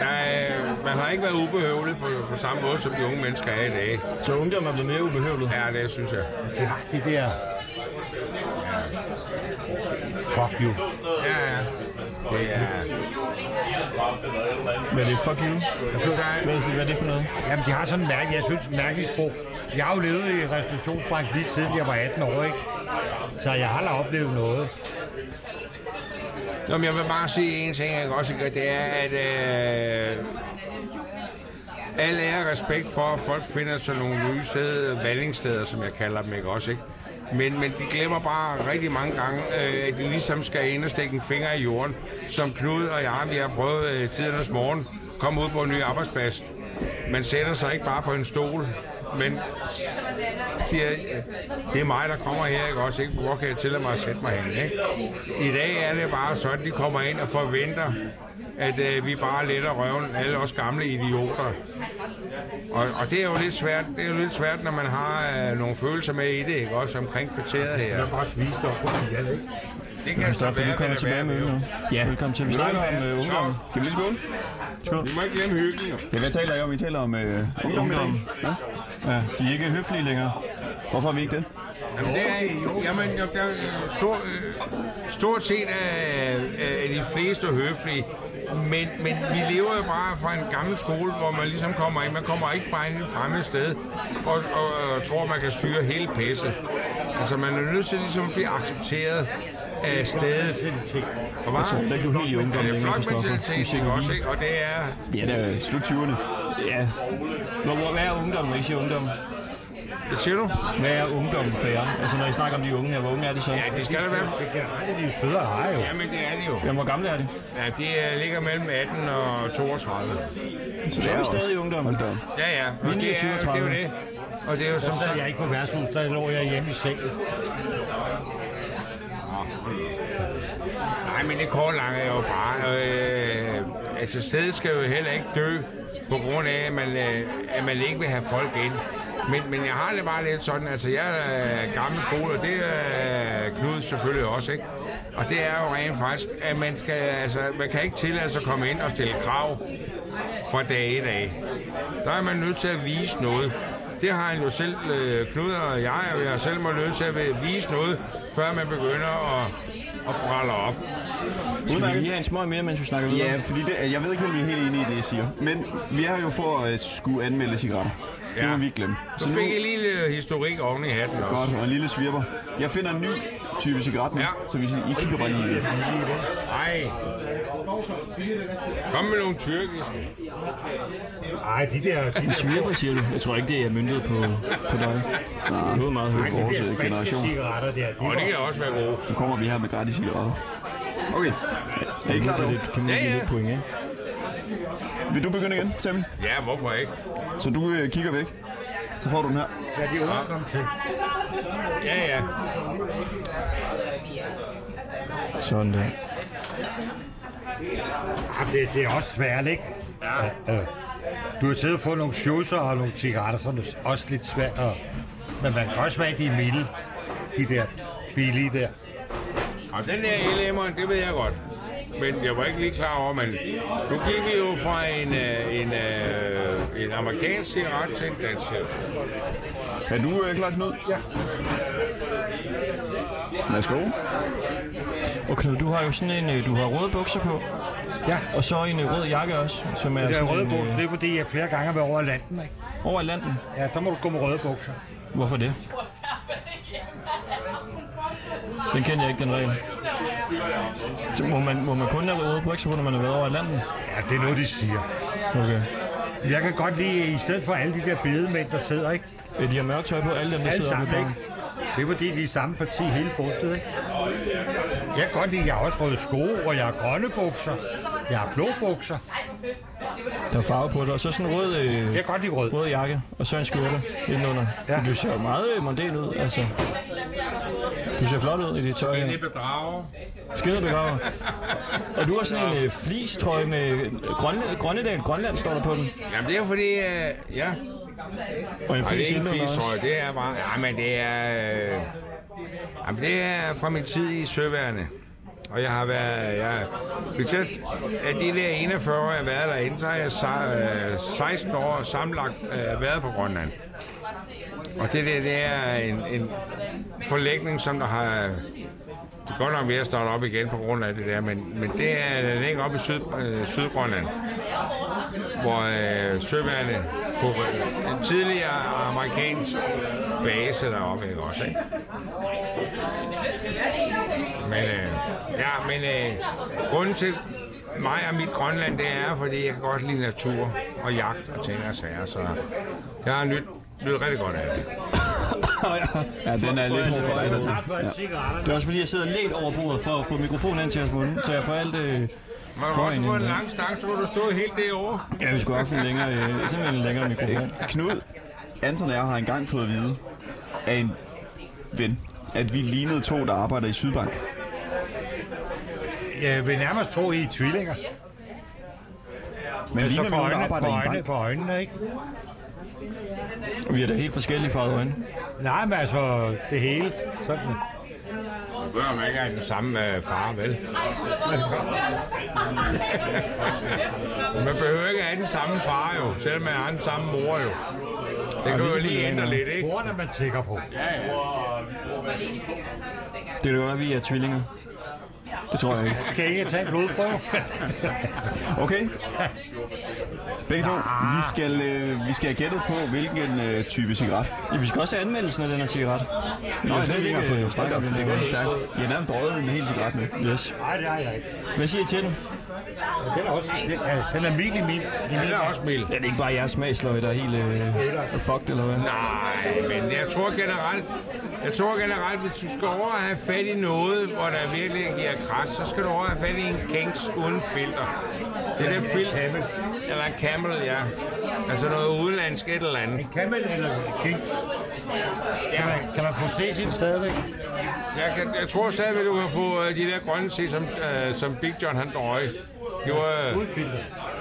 H: der er, man har ikke været ubehøvlet på, på samme måde, som de unge mennesker er i dag.
A: Så ungdom er blevet mere ubehøvlet.
H: Ja, det synes jeg.
I: Det, det der... Fuck you.
H: Ja, ja. Det er...
A: Hvad er det? Fuck you?
H: Altså,
A: Hvad er det, hvad er det for noget?
I: Jamen, de har sådan en mærke, jeg synes, mærkeligt sprog. Jeg har jo levet i restaurationsbranchen lige siden jeg var 18 år, ikke? Så jeg har aldrig oplevet noget.
H: Nå, men jeg vil bare sige en ting, jeg også gør, det er, at øh, alle er respekt for, at folk finder sådan nogle nye steder, valgningssteder, som jeg kalder dem, ikke også, ikke? Men, men de glemmer bare rigtig mange gange, øh, at de ligesom skal ind og stikke en finger i jorden, som Knud og jeg, vi har prøvet øh, tidernes morgen, komme ud på en ny arbejdsplads. Man sætter sig ikke bare på en stol, men siger, det er mig, der kommer her, ikke også? Ikke? Hvor kan jeg tillade mig at sætte mig hen, ikke? I dag er det bare sådan, de kommer ind og forventer, at øh, vi bare letter røven, alle os gamle idioter. Og, og det er jo lidt svært, det er jo lidt svært, når man har øh, nogle følelser med i det, ikke? Også omkring kvarteret her.
I: bare svise sig på pigerne, ikke?
H: Det kan så
A: Stoffer, du
H: være, hvad
A: kommer
H: det
A: tilbage
H: være
A: med øl
H: vil.
A: nu. Ja. Velkommen til. Vi snakker om øh, ungdom.
B: Skal vi lige skåle?
A: Skål.
H: Vi må ikke glemme hyggen, jo.
B: Ja, hvad taler I om? I taler om øh, ungdom i dag.
A: Ungdom.
B: Ja?
A: Ja, de er ikke høflige længere.
B: Hvorfor er vi ikke det?
H: Jamen, det er, jamen, jo, der, er stor, øh, stort set er, er de fleste høflige, men, men vi lever jo bare fra en gammel skole, hvor man ligesom kommer ind. Man kommer ikke bare ind i et fremmed sted og, og, og tror, man kan styre hele pisset. Altså, man er nødt til ligesom at blive accepteret af stedet. Og bare,
A: tror ikke, du Altså, er helt i ungdommen
H: Ja, det er
A: længere, Christoffer. Du
H: flokmentalitet,
A: siger
H: ikke
A: vi.
H: også, ikke? Og det er...
B: Ja, det er slut 20'erne.
A: Ja. Hvor, hvor, hvad er ungdom, når I siger ungdom?
H: Hvad siger du?
A: Hvad er ungdom for jer? Altså, når I snakker om de unge her, hvor unge er de så?
H: Ja, det skal der være.
I: Det generelle, de er jo søde og har jo.
H: Jamen, det er det jo.
A: Jamen, hvor gamle er de?
H: Ja, det øh, ligger mellem 18 og 32.
A: Så er vi stadig i ungdom.
B: Ungdom.
H: Ja, ja. Og
A: Linje
H: det er, jo- det er jo
A: 37.
H: det. Og det er jo som
I: Så sad
H: sagt...
I: jeg ikke på værtshus, der lå jeg hjemme i sengen.
H: Nej, men det kort lange er jo bare... Øh, altså, stedet skal jo heller ikke dø, på grund af, at man, øh, at man ikke vil have folk ind. Men, men jeg har det bare lidt sådan, altså jeg er øh, gammel skole, og det er øh, Knud selvfølgelig også, ikke? Og det er jo rent faktisk, at man, skal, altså, man kan ikke tillade sig at komme ind og stille krav fra dag i dag. Der er man nødt til at vise noget. Det har han jo selv, øh, Knud og jeg, og jeg selv må løse at vise noget, før man begynder at, at brælde op.
A: Skal vi lige have en smøg mere, mens vi snakker videre?
B: Ja, fordi det, jeg ved ikke, om vi er helt enige i det, jeg siger. Men vi har jo for at øh, skulle anmelde cigaretter. Ja. Det
H: Ja.
B: må vi ikke glemme.
H: Så fik jeg lige lidt historik oven i hatten også.
B: Godt, og en lille svirper. Jeg finder en ny type cigaret nu, ja.
H: Ja.
B: så hvis I, I kigger bare lige i det.
H: Ej. Kom med nogle tyrkiske.
I: Ej, de der... De
A: En svirper, siger du? Jeg tror ikke, det er myndet på, på dig. Nej. Det er meget højt.
B: For vores øh,
I: der
B: generation.
I: cigaretter der, de
H: Og det kan også være gode.
B: Så kommer vi her med gratis cigaretter. Okay. Er I klar
A: Det er
B: derude?
A: lidt, kan man
H: Ja,
A: ja, ja.
H: ja.
A: lidt point, ikke?
B: Vil du begynde igen, Sammy?
H: Ja, hvorfor ikke?
B: Så du øh, kigger væk. Så får du den her.
I: Ja, de unge kom til.
H: Ja, ja.
A: Sådan der.
I: Jamen, det, det er også svært, ikke? Ja. Øh, du har siddet og fået nogle shoser og nogle cigaretter, som er også lidt svært. At, men man kan også smage de milde, de der billige der.
H: Og den der LM'er, det ved jeg godt. Men jeg var ikke lige klar over, men nu gik vi jo fra en, øh, en, øh, en amerikansk cigaret til en dansk cigaret.
B: Er du øh, klar, Knud? Ja. Værsgo.
A: Og Knud, du har jo sådan en, øh, du har røde bukser på.
I: Ja.
A: Og så en øh, rød jakke også, som er
I: Altså, Det
A: sådan
I: er røde
A: en,
I: bukser,
A: øh,
I: det er fordi, jeg flere gange har været over landen, ikke?
A: over Atlanten.
I: Ja, så må du gå med røde bukser.
A: Hvorfor det? Den kender jeg ikke, den regel. Så må man, må man kun have røde bukser på, når man har været over Atlanten?
I: Ja, det er noget, de siger.
A: Okay.
I: Jeg kan godt lide, i stedet for alle de der bedemænd, der sidder, ikke?
A: Øh, De har mørkt tøj på, alle dem, der
I: Alle
A: sidder oppe i
I: sammen,
A: baren.
I: ikke? Det er fordi, de er samme parti hele bundet, ikke? Jeg kan godt lide, jeg har også røde sko, og jeg har grønne bukser. Jeg har blå bukser.
A: Der er farve på det, og så sådan en rød, øh,
I: Jeg kan godt lide rød.
A: rød jakke, og så en skjorte indenunder.
I: Ja.
A: Ja. Du ser jo meget øh, mondæn ud, altså. Du ser flot ud i dit tøj.
H: Den
A: her.
H: er bedrager.
A: Skide begraver. Og du har sådan en øh, flistrøje med Grønland, Grønnedal, Grønland står der på den.
H: Jamen det er jo fordi, øh, ja.
A: Og en
H: Nej, det er
A: flis
H: ikke en
A: indenunder
H: fisk, tror
A: også.
H: jeg. Det er bare... Ja, men det er... Øh, jamen, det er fra min tid i Søværende. Og jeg har været... Jeg, hvis jeg, af de der 41 år, jeg har været derinde, så har jeg se- øh, 16 år sammenlagt øh, været på Grønland. Og det der, det er en, en forlægning, som der har... Det er godt nok ved at starte op igen på grund af det der, men, men det er den ligger oppe i Syd, øh, Sydgrønland hvor øh, søværende på en tidligere amerikansk base deroppe, ikke også, ikke? Men, øh, ja, men øh, grunden til mig og mit Grønland, det er, fordi jeg kan godt lide natur og jagt og ting og sager, så jeg har nyt, nyt rigtig godt af det.
B: Ja, den er lidt hård for dig. Den her.
I: Ja. Cigaretter.
A: Det er også fordi, jeg sidder lidt over bordet for at få mikrofonen ind til os munden, så jeg får alt... Øh,
H: Man har også fået en lang stang, så du stod helt derovre.
A: ja, vi skulle have haft en længere, øh, simpelthen en længere mikrofon.
B: Knud, Anton og jeg har engang fået at vide af en ven, at vi lignede to, der arbejder i Sydbank.
I: Jeg vil nærmest tro, I er tvillinger.
B: Men ligner vi
I: på
B: nogen, der
I: øjnene, på,
B: arbejder i en
I: øjnene,
B: bank?
I: på øjnene, ikke?
A: Vi er da helt forskellige farvede øjne.
I: Nej, men altså, det hele. Sådan.
H: Du bør man ikke have den samme øh, far, vel? man behøver ikke have den samme far jo, selvom man har den samme mor jo. Det kan jo lige ændre lidt, ikke?
I: Hvordan er man sikker på?
A: Det er jo at vi er tvillinger. Det tror jeg ikke.
I: Skal I ikke tage en blodprøve?
B: Okay. Begge to. Vi skal, øh, vi skal have gættet på, hvilken øh, type cigaret.
A: Ja, vi skal også have anmeldelsen af den her cigaret.
B: Nå,
A: jeg
B: det
A: slet
B: har vi ikke
A: ikke,
B: fået.
A: øh,
B: Hold da op,
A: snakket om
B: Det
A: den
B: går
A: der.
B: så stærkt. Jeg har nærmest røget en hel cigaret nu.
A: Yes.
I: Nej, det har jeg ikke.
A: Hvad siger I til den?
I: Den er, også, den er, den er mild i min. I min.
H: Det er også mild.
A: Ja, det er ikke bare jeres smagsløg, der er helt øh, fucked, eller hvad?
H: Nej, men jeg tror generelt, jeg tror generelt, hvis du skal over og have fat i noget, hvor der virkelig giver kras, så skal du over og have fat i en Kings uden filter. Det der filter,
I: Camel.
H: eller en Camel, ja. Altså noget udenlandsk et eller andet.
I: En Camel eller King? Kan man, kan man få se sin stadigvæk?
H: Jeg, kan, jeg tror stadigvæk, du kan få øh, de der grønne se, som, øh, som Big John han drøg. Det var... Øh,
I: Uden filter.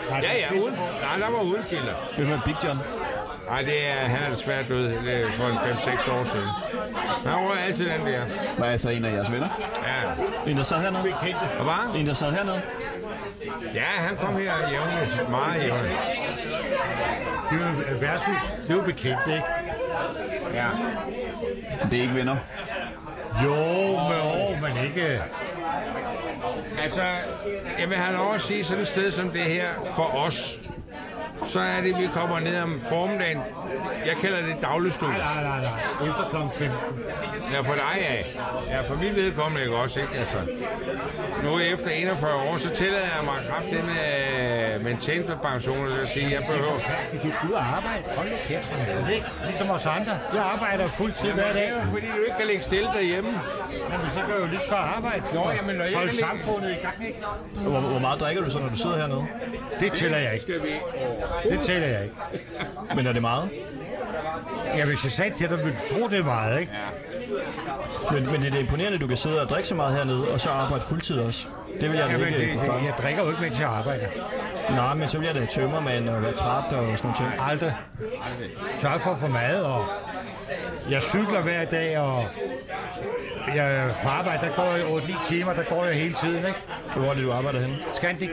I: Nej,
H: ja, ja, uden, nej, der var uden filter.
A: Hvem er Big John?
H: Nej, det er, han er desværre død øh, for en 5-6 år siden. Han røg altid den der.
B: Var altså en af jeres venner?
H: Ja.
A: En, der sad hernede?
H: Og hvad?
A: En, der sad hernede?
H: Ja, han kom her jævnligt. Meget jævnligt.
I: Det er jo versus. Det er jo bekendt, ikke?
H: Ja.
B: Det er ikke venner.
I: Jo, men, jo, men ikke...
H: Altså, jeg vil have lov at sige, sådan et sted som det her, for os, så er det, vi kommer ned om formiddagen. Jeg kalder det dagligstuen.
I: Nej, nej, nej. Efter kl. 15.
H: Ja, for dig af. Ja, for mit vedkommende ikke også, ikke? Altså, nu efter 41 år, så tillader jeg mig kraft det med, med en tjent på pension, og så siger, jeg behøver...
I: Du skal ud og arbejde. Hold nu kæft for helvede. ikke? Ligesom os andre. Jeg arbejder fuldtid hver dag.
H: Det er jo, fordi du ikke kan ligge stille derhjemme.
I: Jamen, så kan jeg jo lige så godt arbejde.
H: Nå, jamen, når jeg
I: Hold
H: kan ligge-
I: samfundet i gang, ikke?
A: Hvor, hvor meget drikker du så, når du sidder hernede?
I: Det tæller jeg ikke.
H: Skal vi...
I: Det tæller jeg ikke.
A: Men er det meget?
I: Ja, hvis jeg sagde til dig, ville du tro, det er meget, ikke?
A: Men, men er det imponerende, at du kan sidde og drikke så meget hernede, og så arbejde fuldtid også? Det vil jeg da
I: Jamen, det,
A: ikke kunne
I: det,
A: fange.
I: jeg drikker jo ikke, mens jeg arbejder.
A: Nej, men så vil jeg da tømmermand og være træt og sådan noget. ting.
I: Aldrig. Sørg for at få mad, og jeg cykler hver dag, og jeg på arbejde, der går jeg 8-9 timer, der går jeg hele tiden, ikke?
A: Hvor er det, du arbejder henne?
I: Scandic.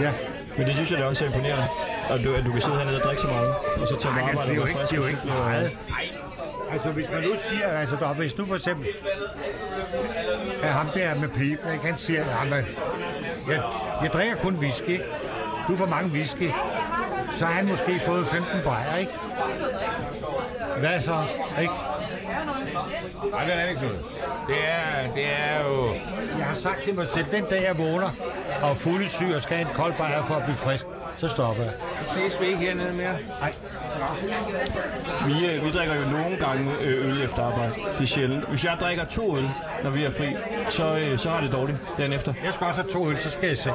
I: Ja.
A: Men det synes jeg da også er imponerende, at du, at du kan sidde hernede og drikke så meget, og så tage på
I: Ej,
A: arbejde
I: det
A: og
I: er jo
A: være frisk.
I: ikke, det er
A: og
I: jo ikke
A: cykle og-
I: meget. Altså, hvis man nu siger, altså, der, hvis nu for eksempel, at ham der med pipen, ikke, han siger, at jeg, jeg drikker kun whisky, ikke? du får mange whisky, så har han måske fået 15 bajer, ikke? Hvad så? Ikke?
H: Nej, det er ikke noget. Det er, det er jo...
I: Jeg har sagt til mig selv, den dag jeg vågner og er fuldesyg og skal have en kold bajer for at blive frisk, så stopper jeg.
H: Ses vi ikke hernede mere?
A: Vi, øh, vi drikker jo nogle gange øh, øl efter arbejde. Det er sjældent. Hvis jeg drikker to øl, når vi er fri, så, øh, så har jeg det dårligt dagen efter.
I: Jeg skal også have to øl, så skal jeg se.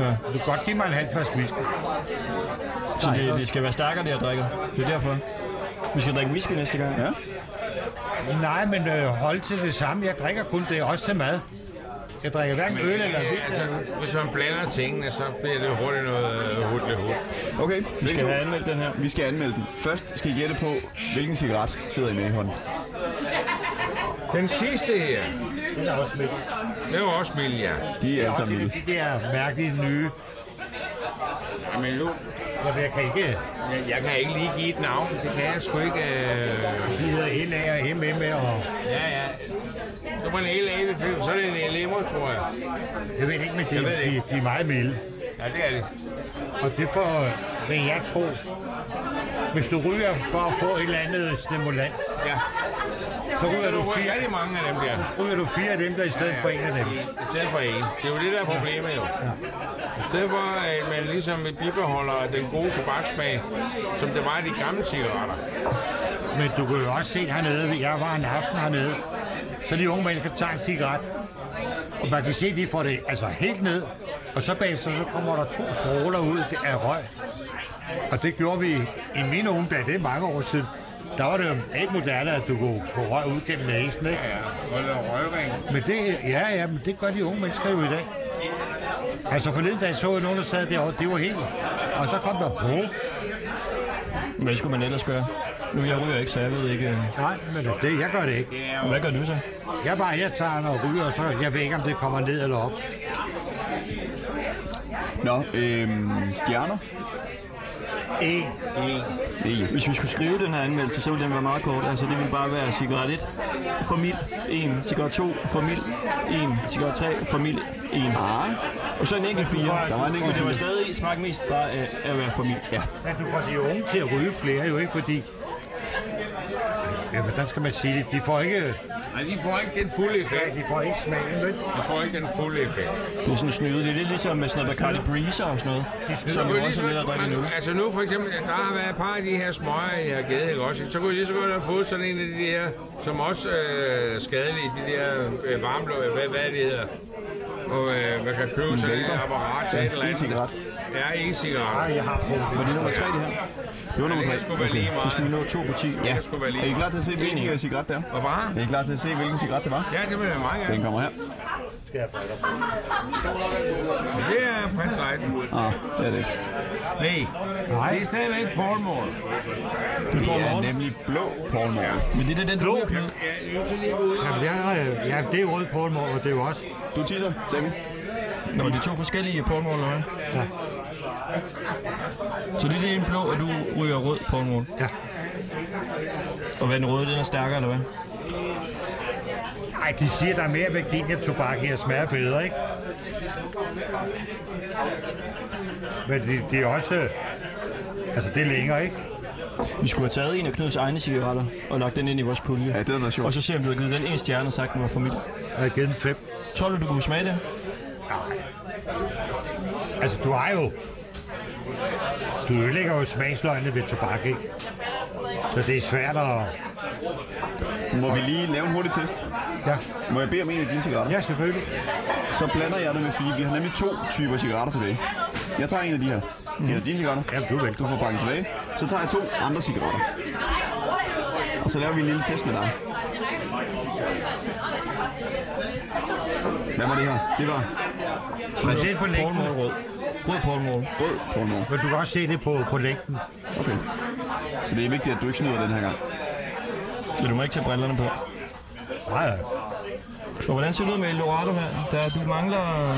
A: Ja.
I: Du kan godt give mig en halv flaske whisky.
A: Så det, det skal være stærkere, det jeg drikker. Det er derfor. Vi skal drikke whisky næste gang.
B: Ja.
I: Nej, men øh, hold til det samme. Jeg drikker kun det, også til mad. Jeg drikker hverken øl eller vin.
H: altså, hvis man blander tingene, så bliver det hurtigt noget øh, hurtigt hurtigt.
B: Okay,
A: Vi
B: begge
A: skal
B: to.
A: have anmeldt den her.
B: Vi skal anmelde den. Først skal I gætte på, hvilken cigaret sidder I med i hånden.
H: Den sidste her,
I: Det er også med.
H: det altså var også mild, ja.
B: De er alle
I: Også
B: sammen
I: en af
B: vilde.
I: de der mærkelige nye.
H: Men nu,
I: Jeg, jeg kan ikke.
H: jeg, jeg kan ikke lige give et navn. Det kan jeg sgu ikke. Øh...
I: De hedder NA og MM og...
H: Ja, ja. Så var en LA, vi fik. Så er det en LM'er, tror jeg.
I: Jeg ved ikke, men de,
H: Jeg ved det
I: de,
H: ikke.
I: de er meget milde.
H: Ja, det er det.
I: Og det får, øh, vil jeg tro, hvis du ryger for at få et eller andet stimulans,
H: Ja.
I: så ryger du
H: fire?
I: fire,
H: rigtig mange af dem der.
I: ryger du fire af dem, der i stedet for en af dem.
H: I stedet for en. Det er jo det, der er problemet jo. I stedet for, at man ligesom bibeholder den gode tobaksmag, som det var i de gamle cigaretter.
I: Men du kan jo også se hernede, jeg var en aften hernede, så de unge mennesker tager en cigaret, og man kan se, at de får det altså helt ned, og så bagefter så kommer der to stråler ud af røg. Og det gjorde vi i mine unge dage, det er mange år siden. Der var det jo helt moderne, at du kunne få røg ud gennem næsen, ikke?
H: Ja, og der røgring.
I: Men det, ja, ja, men det gør de unge mennesker jo i dag. Altså forleden dag så jeg nogen, der sad derovre, det var helt. Og så kom der bro.
A: Hvad skulle man ellers gøre? Nu jeg ryger ikke, så jeg ved ikke... øh,
I: Nej, men det, jeg gør det ikke.
A: Hvad gør du så?
I: Jeg bare, jeg tager noget ryger, og så jeg ved ikke, om det kommer ned eller op.
B: Nå, øhm, stjerner.
I: En.
B: Det
A: Hvis vi skulle skrive den her anmeldelse, så ville den være meget kort. Altså, det ville bare være cigaret 1, formil 1, cigaret 2, formil 1, cigaret 3, formil 1.
B: Ah,
A: Og så en enkelt 4.
B: der var en
A: Og
B: enkelt
A: det var
B: fire.
A: stadig smagt mest bare af at være formil.
I: Men du får de unge til at ryge flere, jo ikke, fordi... Ja, hvordan skal man sige det? De får ikke,
H: Nej, de får ikke den fulde effekt.
I: de får ikke smagen, vel?
H: De får ikke den fulde effekt.
A: Det er sådan snyde. Det er lidt ligesom med sådan noget Bacardi Breezer og sådan noget.
H: Så
A: Som
H: kunne
A: jo
H: lige
A: også
H: så
A: er lidt at drikke nu.
H: godt, altså nu for eksempel, der har været et par af de her smøger, jeg har givet, ikke også? ikke? Så kunne jeg lige så godt have fået sådan en af de her, som også øh, skadelige, de der øh, varmblå, hvad, hvad det hedder. Og øh, man kan købe sådan et
B: vælter.
H: apparat til
B: Ja,
H: et eller andet.
B: e-cigaret.
H: Ja, en cigaret.
I: Jeg har prøvet det.
B: var det nummer tre, det her? Det var nummer tre.
H: Det skulle være lige meget.
A: Så skal vi nå 2 på 10.
H: Det skulle være
B: Er I
H: lige
B: klar til at se, hvilken øh, cigaret det er?
H: Hvad var
B: Er I klar til at se, hvilken cigaret det var?
H: Ja, det vil jeg meget
B: Den
H: gerne.
B: kommer her.
H: Det er Prins Leiden.
B: Ah, det er det ikke.
H: Nej,
I: Nej.
H: det er stadigvæk Pornmore.
B: Det er nemlig blå Paulmore.
A: Men det er det, den du ryger, Knud.
H: Ja, jeg er nødt til lige at gå ud.
I: Jamen, jeg, har- ja, det er rød på og det er jo også.
B: Du tisser, Sammy.
A: Nå, det er to forskellige pornmål, eller hvad? Så lige det er en blå, og du ryger rød på en måde.
I: Ja.
A: Og hvad er den røde, den er stærkere, eller hvad?
I: Ej, de siger, der er mere Virginia-tobak her, smager bedre, ikke? Men det, det er også... øh, Altså, det er længere, ikke?
A: Vi skulle have taget en af Knuds egne cigaretter og lagt den ind i vores pulje. Ja, det havde været sjovt. Og så ser vi, om du har givet den en stjerne og sagt, den var familie.
I: Jeg har givet den fem.
A: Tror du, du kunne smage det?
I: Altså, du har jo... Du ødelægger jo smagsløgene ved tobak, ikke? Så det er svært at...
B: Må vi lige lave en hurtig test?
I: Ja.
B: Må jeg bede om en af dine cigaretter?
I: Ja, selvfølgelig.
B: Så blander jeg det med fire. Vi har nemlig to typer cigaretter tilbage. Jeg tager en af de her. En af dine cigaretter.
I: Ja, du
B: Du får banken tilbage. Så tager jeg to andre cigaretter. Og så laver vi en lille test med dig. Hvad var det her? Det var...
I: Men det er på længden.
A: Rød. Rød pornmål.
B: Rød pornmål.
I: Men du kan også se det på, på længden.
B: Okay. Så det er vigtigt, at du ikke snyder den her gang.
A: Ja, du må ikke tage brillerne på.
I: Nej, nej.
A: Og hvordan ser det ud med Eldorado her? Der, du mangler...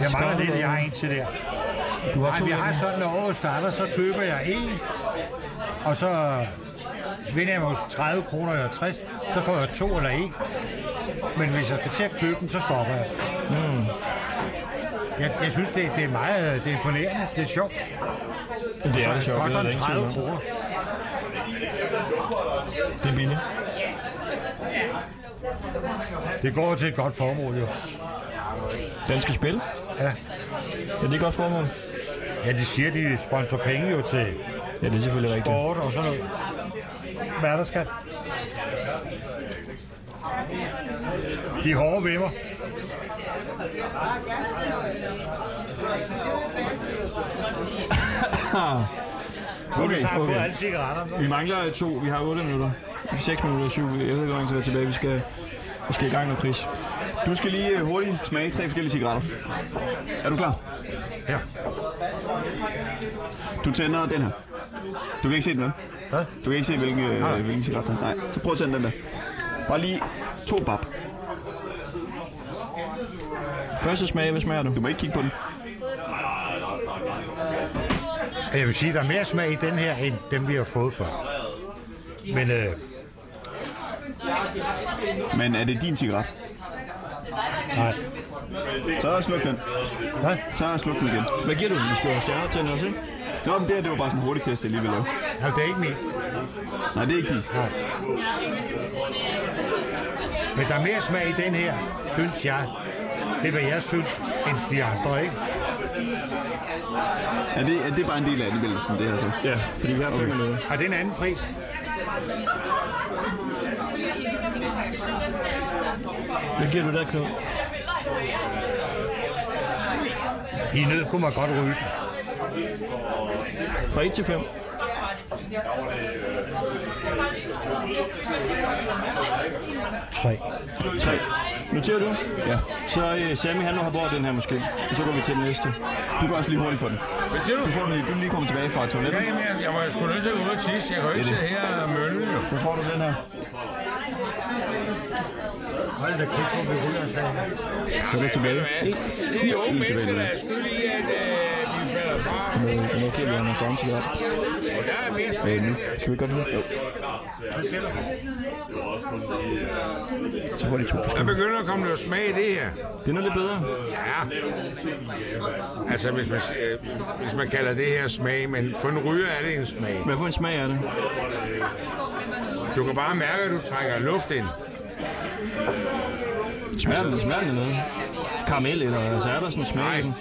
I: Jeg mangler
A: Skål,
I: lidt,
A: mand.
I: jeg har en til der.
A: Du har
I: Ej,
A: to
I: vi har
A: derinde.
I: sådan, når året starter, så køber jeg en, og så vinder jeg måske 30 kroner eller 60, så får jeg to eller en. Men hvis jeg skal til at købe dem, så stopper jeg.
A: Mm.
I: Jeg, jeg synes, det, det er meget øh, det er imponerende. Det er sjovt.
A: Det er det sjovt.
I: Det
A: det er der
I: koster
A: ingen tvivl
I: 30
A: om.
I: kroner.
A: Det er billigt.
I: Det går til et godt formål, jo.
A: Den skal spille.
I: Ja.
A: Ja, det er et godt formål.
I: Ja, de siger, de sponsorer penge jo til
A: Ja, det er selvfølgelig rigtigt.
I: sport og sådan noget. Hvad er der, skat? De er hårde ved mig. Nu okay, har jeg fået alle cigaretterne.
A: Vi mangler to. Vi har 8 minutter. 6 minutter, 7. Jeg ved ikke, hvor lang tid vi er tilbage. Vi skal måske i gang med Chris.
B: Du skal lige øh, hurtigt smage tre forskellige cigaretter. Er du klar?
I: Ja.
B: Du tænder den her. Du kan ikke se den, vel?
I: Hvad?
B: Du kan ikke se, hvilken,
I: Nej.
B: øh, hvilken cigaret der er. Nej, så prøv at tænde den der. Bare lige to bab.
A: Første smag, hvad smager du?
B: Du må ikke kigge på den.
I: Jeg vil sige, der er mere smag i den her, end dem, vi har fået før. Men øh,
B: Men er det din cigaret?
I: nej.
B: Så sluk den.
I: Hvad?
B: Så sluk den igen.
A: Hvad giver du den? Vi skal jo have stjerner til den også, ikke?
B: Nå, men det her, det var bare sådan en hurtig test, jeg lige ville lave.
I: Nå, det er ikke min.
B: Nej, det er ikke din.
I: Nej. Men der er mere smag i den her, synes jeg. Det er, hvad jeg synes, end de andre, ikke?
B: Er det, er det bare en del af anmeldelsen, det her så?
A: Ja, fordi vi har 5 minutter.
I: Og det er en anden pris.
A: Hvad giver du der, Knud?
I: I nød kunne man godt ryge den.
A: Fra 1 til 5.
I: Tre.
A: 3. Noterer du?
B: Ja.
A: Så øh, Sammy, han må have brugt den her måske. Og så går vi til den næste.
B: Du kan også lige hurtigt få den.
H: Hvad siger du?
B: Du får den lige. Du kan lige komme tilbage fra
H: Ja,
B: toilettet.
H: jamen, jeg, jeg var sgu nødt til at gå ud og tisse. Jeg kan jo ikke
B: Det er
H: sidde her og mølle, jo.
B: Så får du den her.
I: Hold da kæft, hvor vi ryger, sagde han.
B: Så er det tilbage.
H: Det er de unge
B: Lige tilbage
H: mennesker, der
B: med
H: er skyld i, at øh, vi falder fra.
A: øh, Nu giver vi ham en samme cigaret.
H: Og der er mere
A: Øh,
H: spændende.
A: nu. Skal vi ikke godt nu? Jo. Så får de to
H: Der
A: forskellige.
H: begynder at komme noget smag i det her.
A: Det er noget lidt bedre.
H: Ja. Altså, hvis man, øh, hvis man kalder det her smag, men for en ryger er det en smag.
A: Hvad for en smag er det?
H: Du kan bare mærke, at du trækker luft ind.
A: Smager den, smager den af noget? Karamel eller altså er der sådan en smag i den?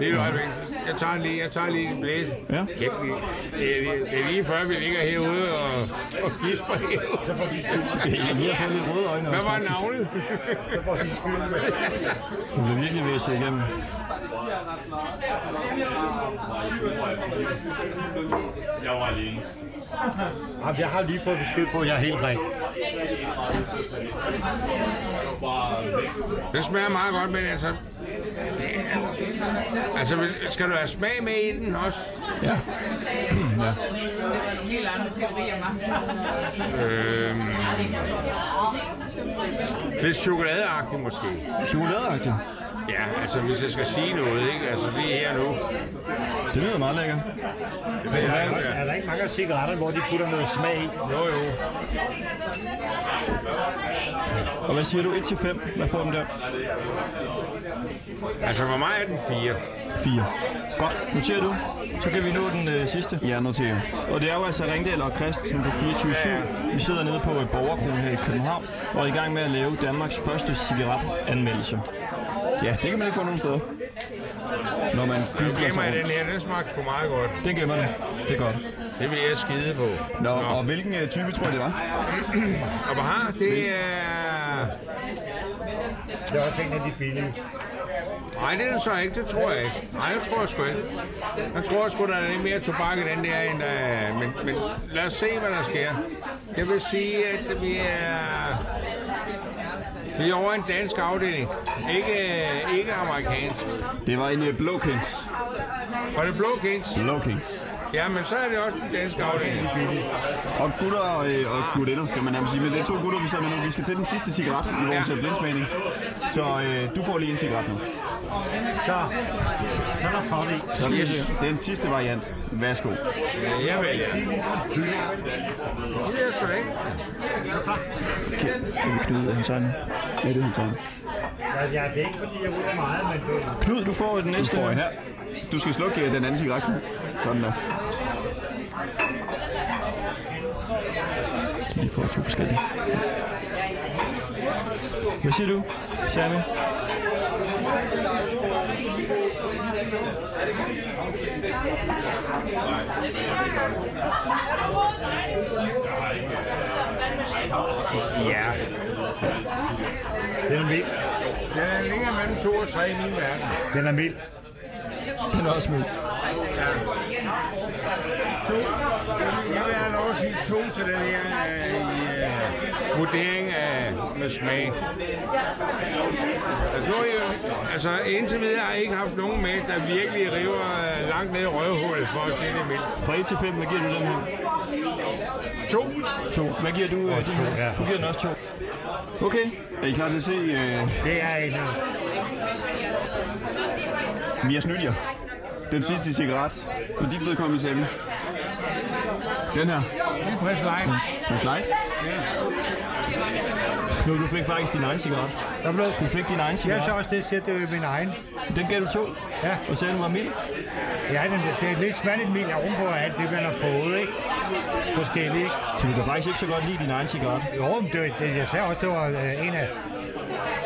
H: Det er jo øjeblik. Jeg tager lige, jeg tager lige en blæs.
A: Ja.
H: Kæft, det er, det er lige før, vi ligger herude og, og gisper herude.
A: Ja, vi har fået lidt røde øjne
H: Hvad
A: også,
H: var
A: faktisk.
H: navnet?
A: Du blev virkelig ved at se igennem.
I: Jamen, Jeg har lige fået besked på, at jeg er helt ren.
H: Det smager meget godt, men altså... Altså, vil- skal du have smag med i den også?
A: Ja. ja.
J: Helt andre teorier, man.
H: Øhm, lidt chokoladeagtigt måske.
A: Chokoladeagtigt.
H: Ja, altså hvis jeg skal sige noget, ikke? Altså lige her nu.
A: Det lyder meget lækkert.
I: Men er, der- er der ikke mange af cigaretterne, hvor de putter noget smag i?
H: Jo, jo.
A: Og hvad siger du? 1-5? Hvad får den der?
H: Altså, hvor meget er den? 4.
A: 4. Godt. Noterer du? Så kan vi nå den øh, sidste.
B: Ja, noterer.
A: Og det er jo altså Ringdal og Christensen på 24-7. Vi sidder nede på øh, Borgerkronen her i København og er i gang med at lave Danmarks første cigaretanmeldelse.
B: Ja, det kan man ikke få nogen steder. Når man
H: Nu
B: googler
H: glemmer
B: sig
H: jeg den
B: rundt.
H: her. Den smagte sgu meget godt.
A: Den gemmer den. Det er godt.
H: Det vil jeg skide på.
B: Nå, og hvilken øh, type tror jeg, det var?
H: Og hvor har det er...
I: Det er også en af de billige.
H: Nej, det er det så ikke. Det tror jeg ikke. Nej, det tror jeg sgu ikke. Jeg tror sgu, der er lidt mere tobak i den der, end der... Men, men lad os se, hvad der sker. Jeg vil sige, at vi er... Vi er over i en dansk afdeling. Ikke, øh, ikke amerikansk.
B: Det var en øh, Blå Kings.
H: Var det Blå Kings?
B: Blå Kings.
H: Ja, men så er det også den danske afdeling.
B: Og gutter og, øh, og gutinder, kan man nærmest sige. Men det er to gutter, vi sidder med nu. Vi skal til den sidste cigaret i vores ja. blindsmagning. Så øh, du får lige en cigaret nu.
I: Så, så er der pop i.
B: Så yes. den sidste variant. Værsgo.
H: Ja, jeg vælger.
I: Det er ligesom en kylling.
H: Det er sgu da ikke.
B: Kan vi knyde hans øjne? Ja, det er hans øjne.
I: Altså, ja, det er ikke, fordi jeg ryger meget, men det er
B: Knud, du får den næste. Du får en her. Du skal slukke øh, den anden cigaret. Knud. Sådan der.
A: Vi får to forskellige. Hvad siger du, Sammy?
H: Ja.
I: den er mild.
H: Den ligger mellem 2 og 3 i min verden.
I: Den er mild.
A: Den er også mild.
H: Jeg vil have lov at sige to til den her øh, i, øh, vurdering af med smag. Altså, nu har jeg, altså indtil videre har jeg ikke haft nogen med, der virkelig river øh, langt ned i røvhullet for at se det mildt.
A: Fra 1 til 5, hvad giver du den her?
H: To.
A: 2. Hvad giver du øh, din
I: ja.
A: her? Du giver den også 2.
B: Okay. Er I klar til at se? Øh,
I: Det er en... øh,
B: vi har snydt jer. Den sidste cigaret. For dit vedkommende, Samme. Den her.
H: Det er frisk light.
B: Med slide.
A: Knud, du fik faktisk din egen cigaret.
I: Der blev
A: Du fik din egen
I: jeg så
A: cigaret.
I: også det, jeg siger, det er min egen.
A: Den gav du 2.
I: Ja.
A: Og sagde, den var mild.
I: Ja, den, det er lidt smattet mil ovenpå alt det, man har fået, ikke? Forskellige, ikke?
A: Så du kan faktisk ikke så godt lide din egen cigaret.
I: Jo, men det, var- det, jeg sagde også, det var øh, en af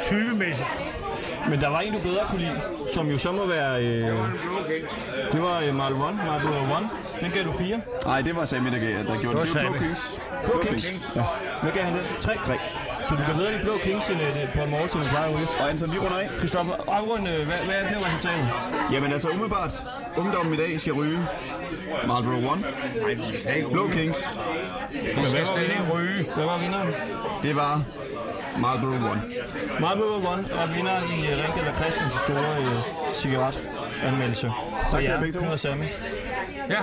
I: typemæssigt.
A: Men der var en, du bedre kunne lide, som jo så må være... Øh, det var øh, Marlboro One. Marlboro One. Den gav du 4.
B: Nej, det var Sammy, der, gav, der gjorde det. Det var Blå
I: Sammy.
B: Kings.
A: Blå Kings. Ja. Hvad gav han den? 3.
B: Tre.
A: Så du kan bedre lide Blå Kings end øh, på en morgen til Brian Ude.
B: Og Anton, vi runder af.
A: Christoffer, afrund, øh, hvad, hvad blev resultatet?
B: Jamen altså umiddelbart, ungdommen i dag skal ryge Marlboro One, Blå Kings,
H: Det skal slet ikke ryge.
A: Hvad var vinderen?
B: det var Marlboro One.
A: Marlboro One var vinderen i øh, Ringdal og Christens store øh, cigaretanmeldelse.
B: Tak til jer
A: jer,
B: begge to.
A: Knud og Sammy.
H: Ja.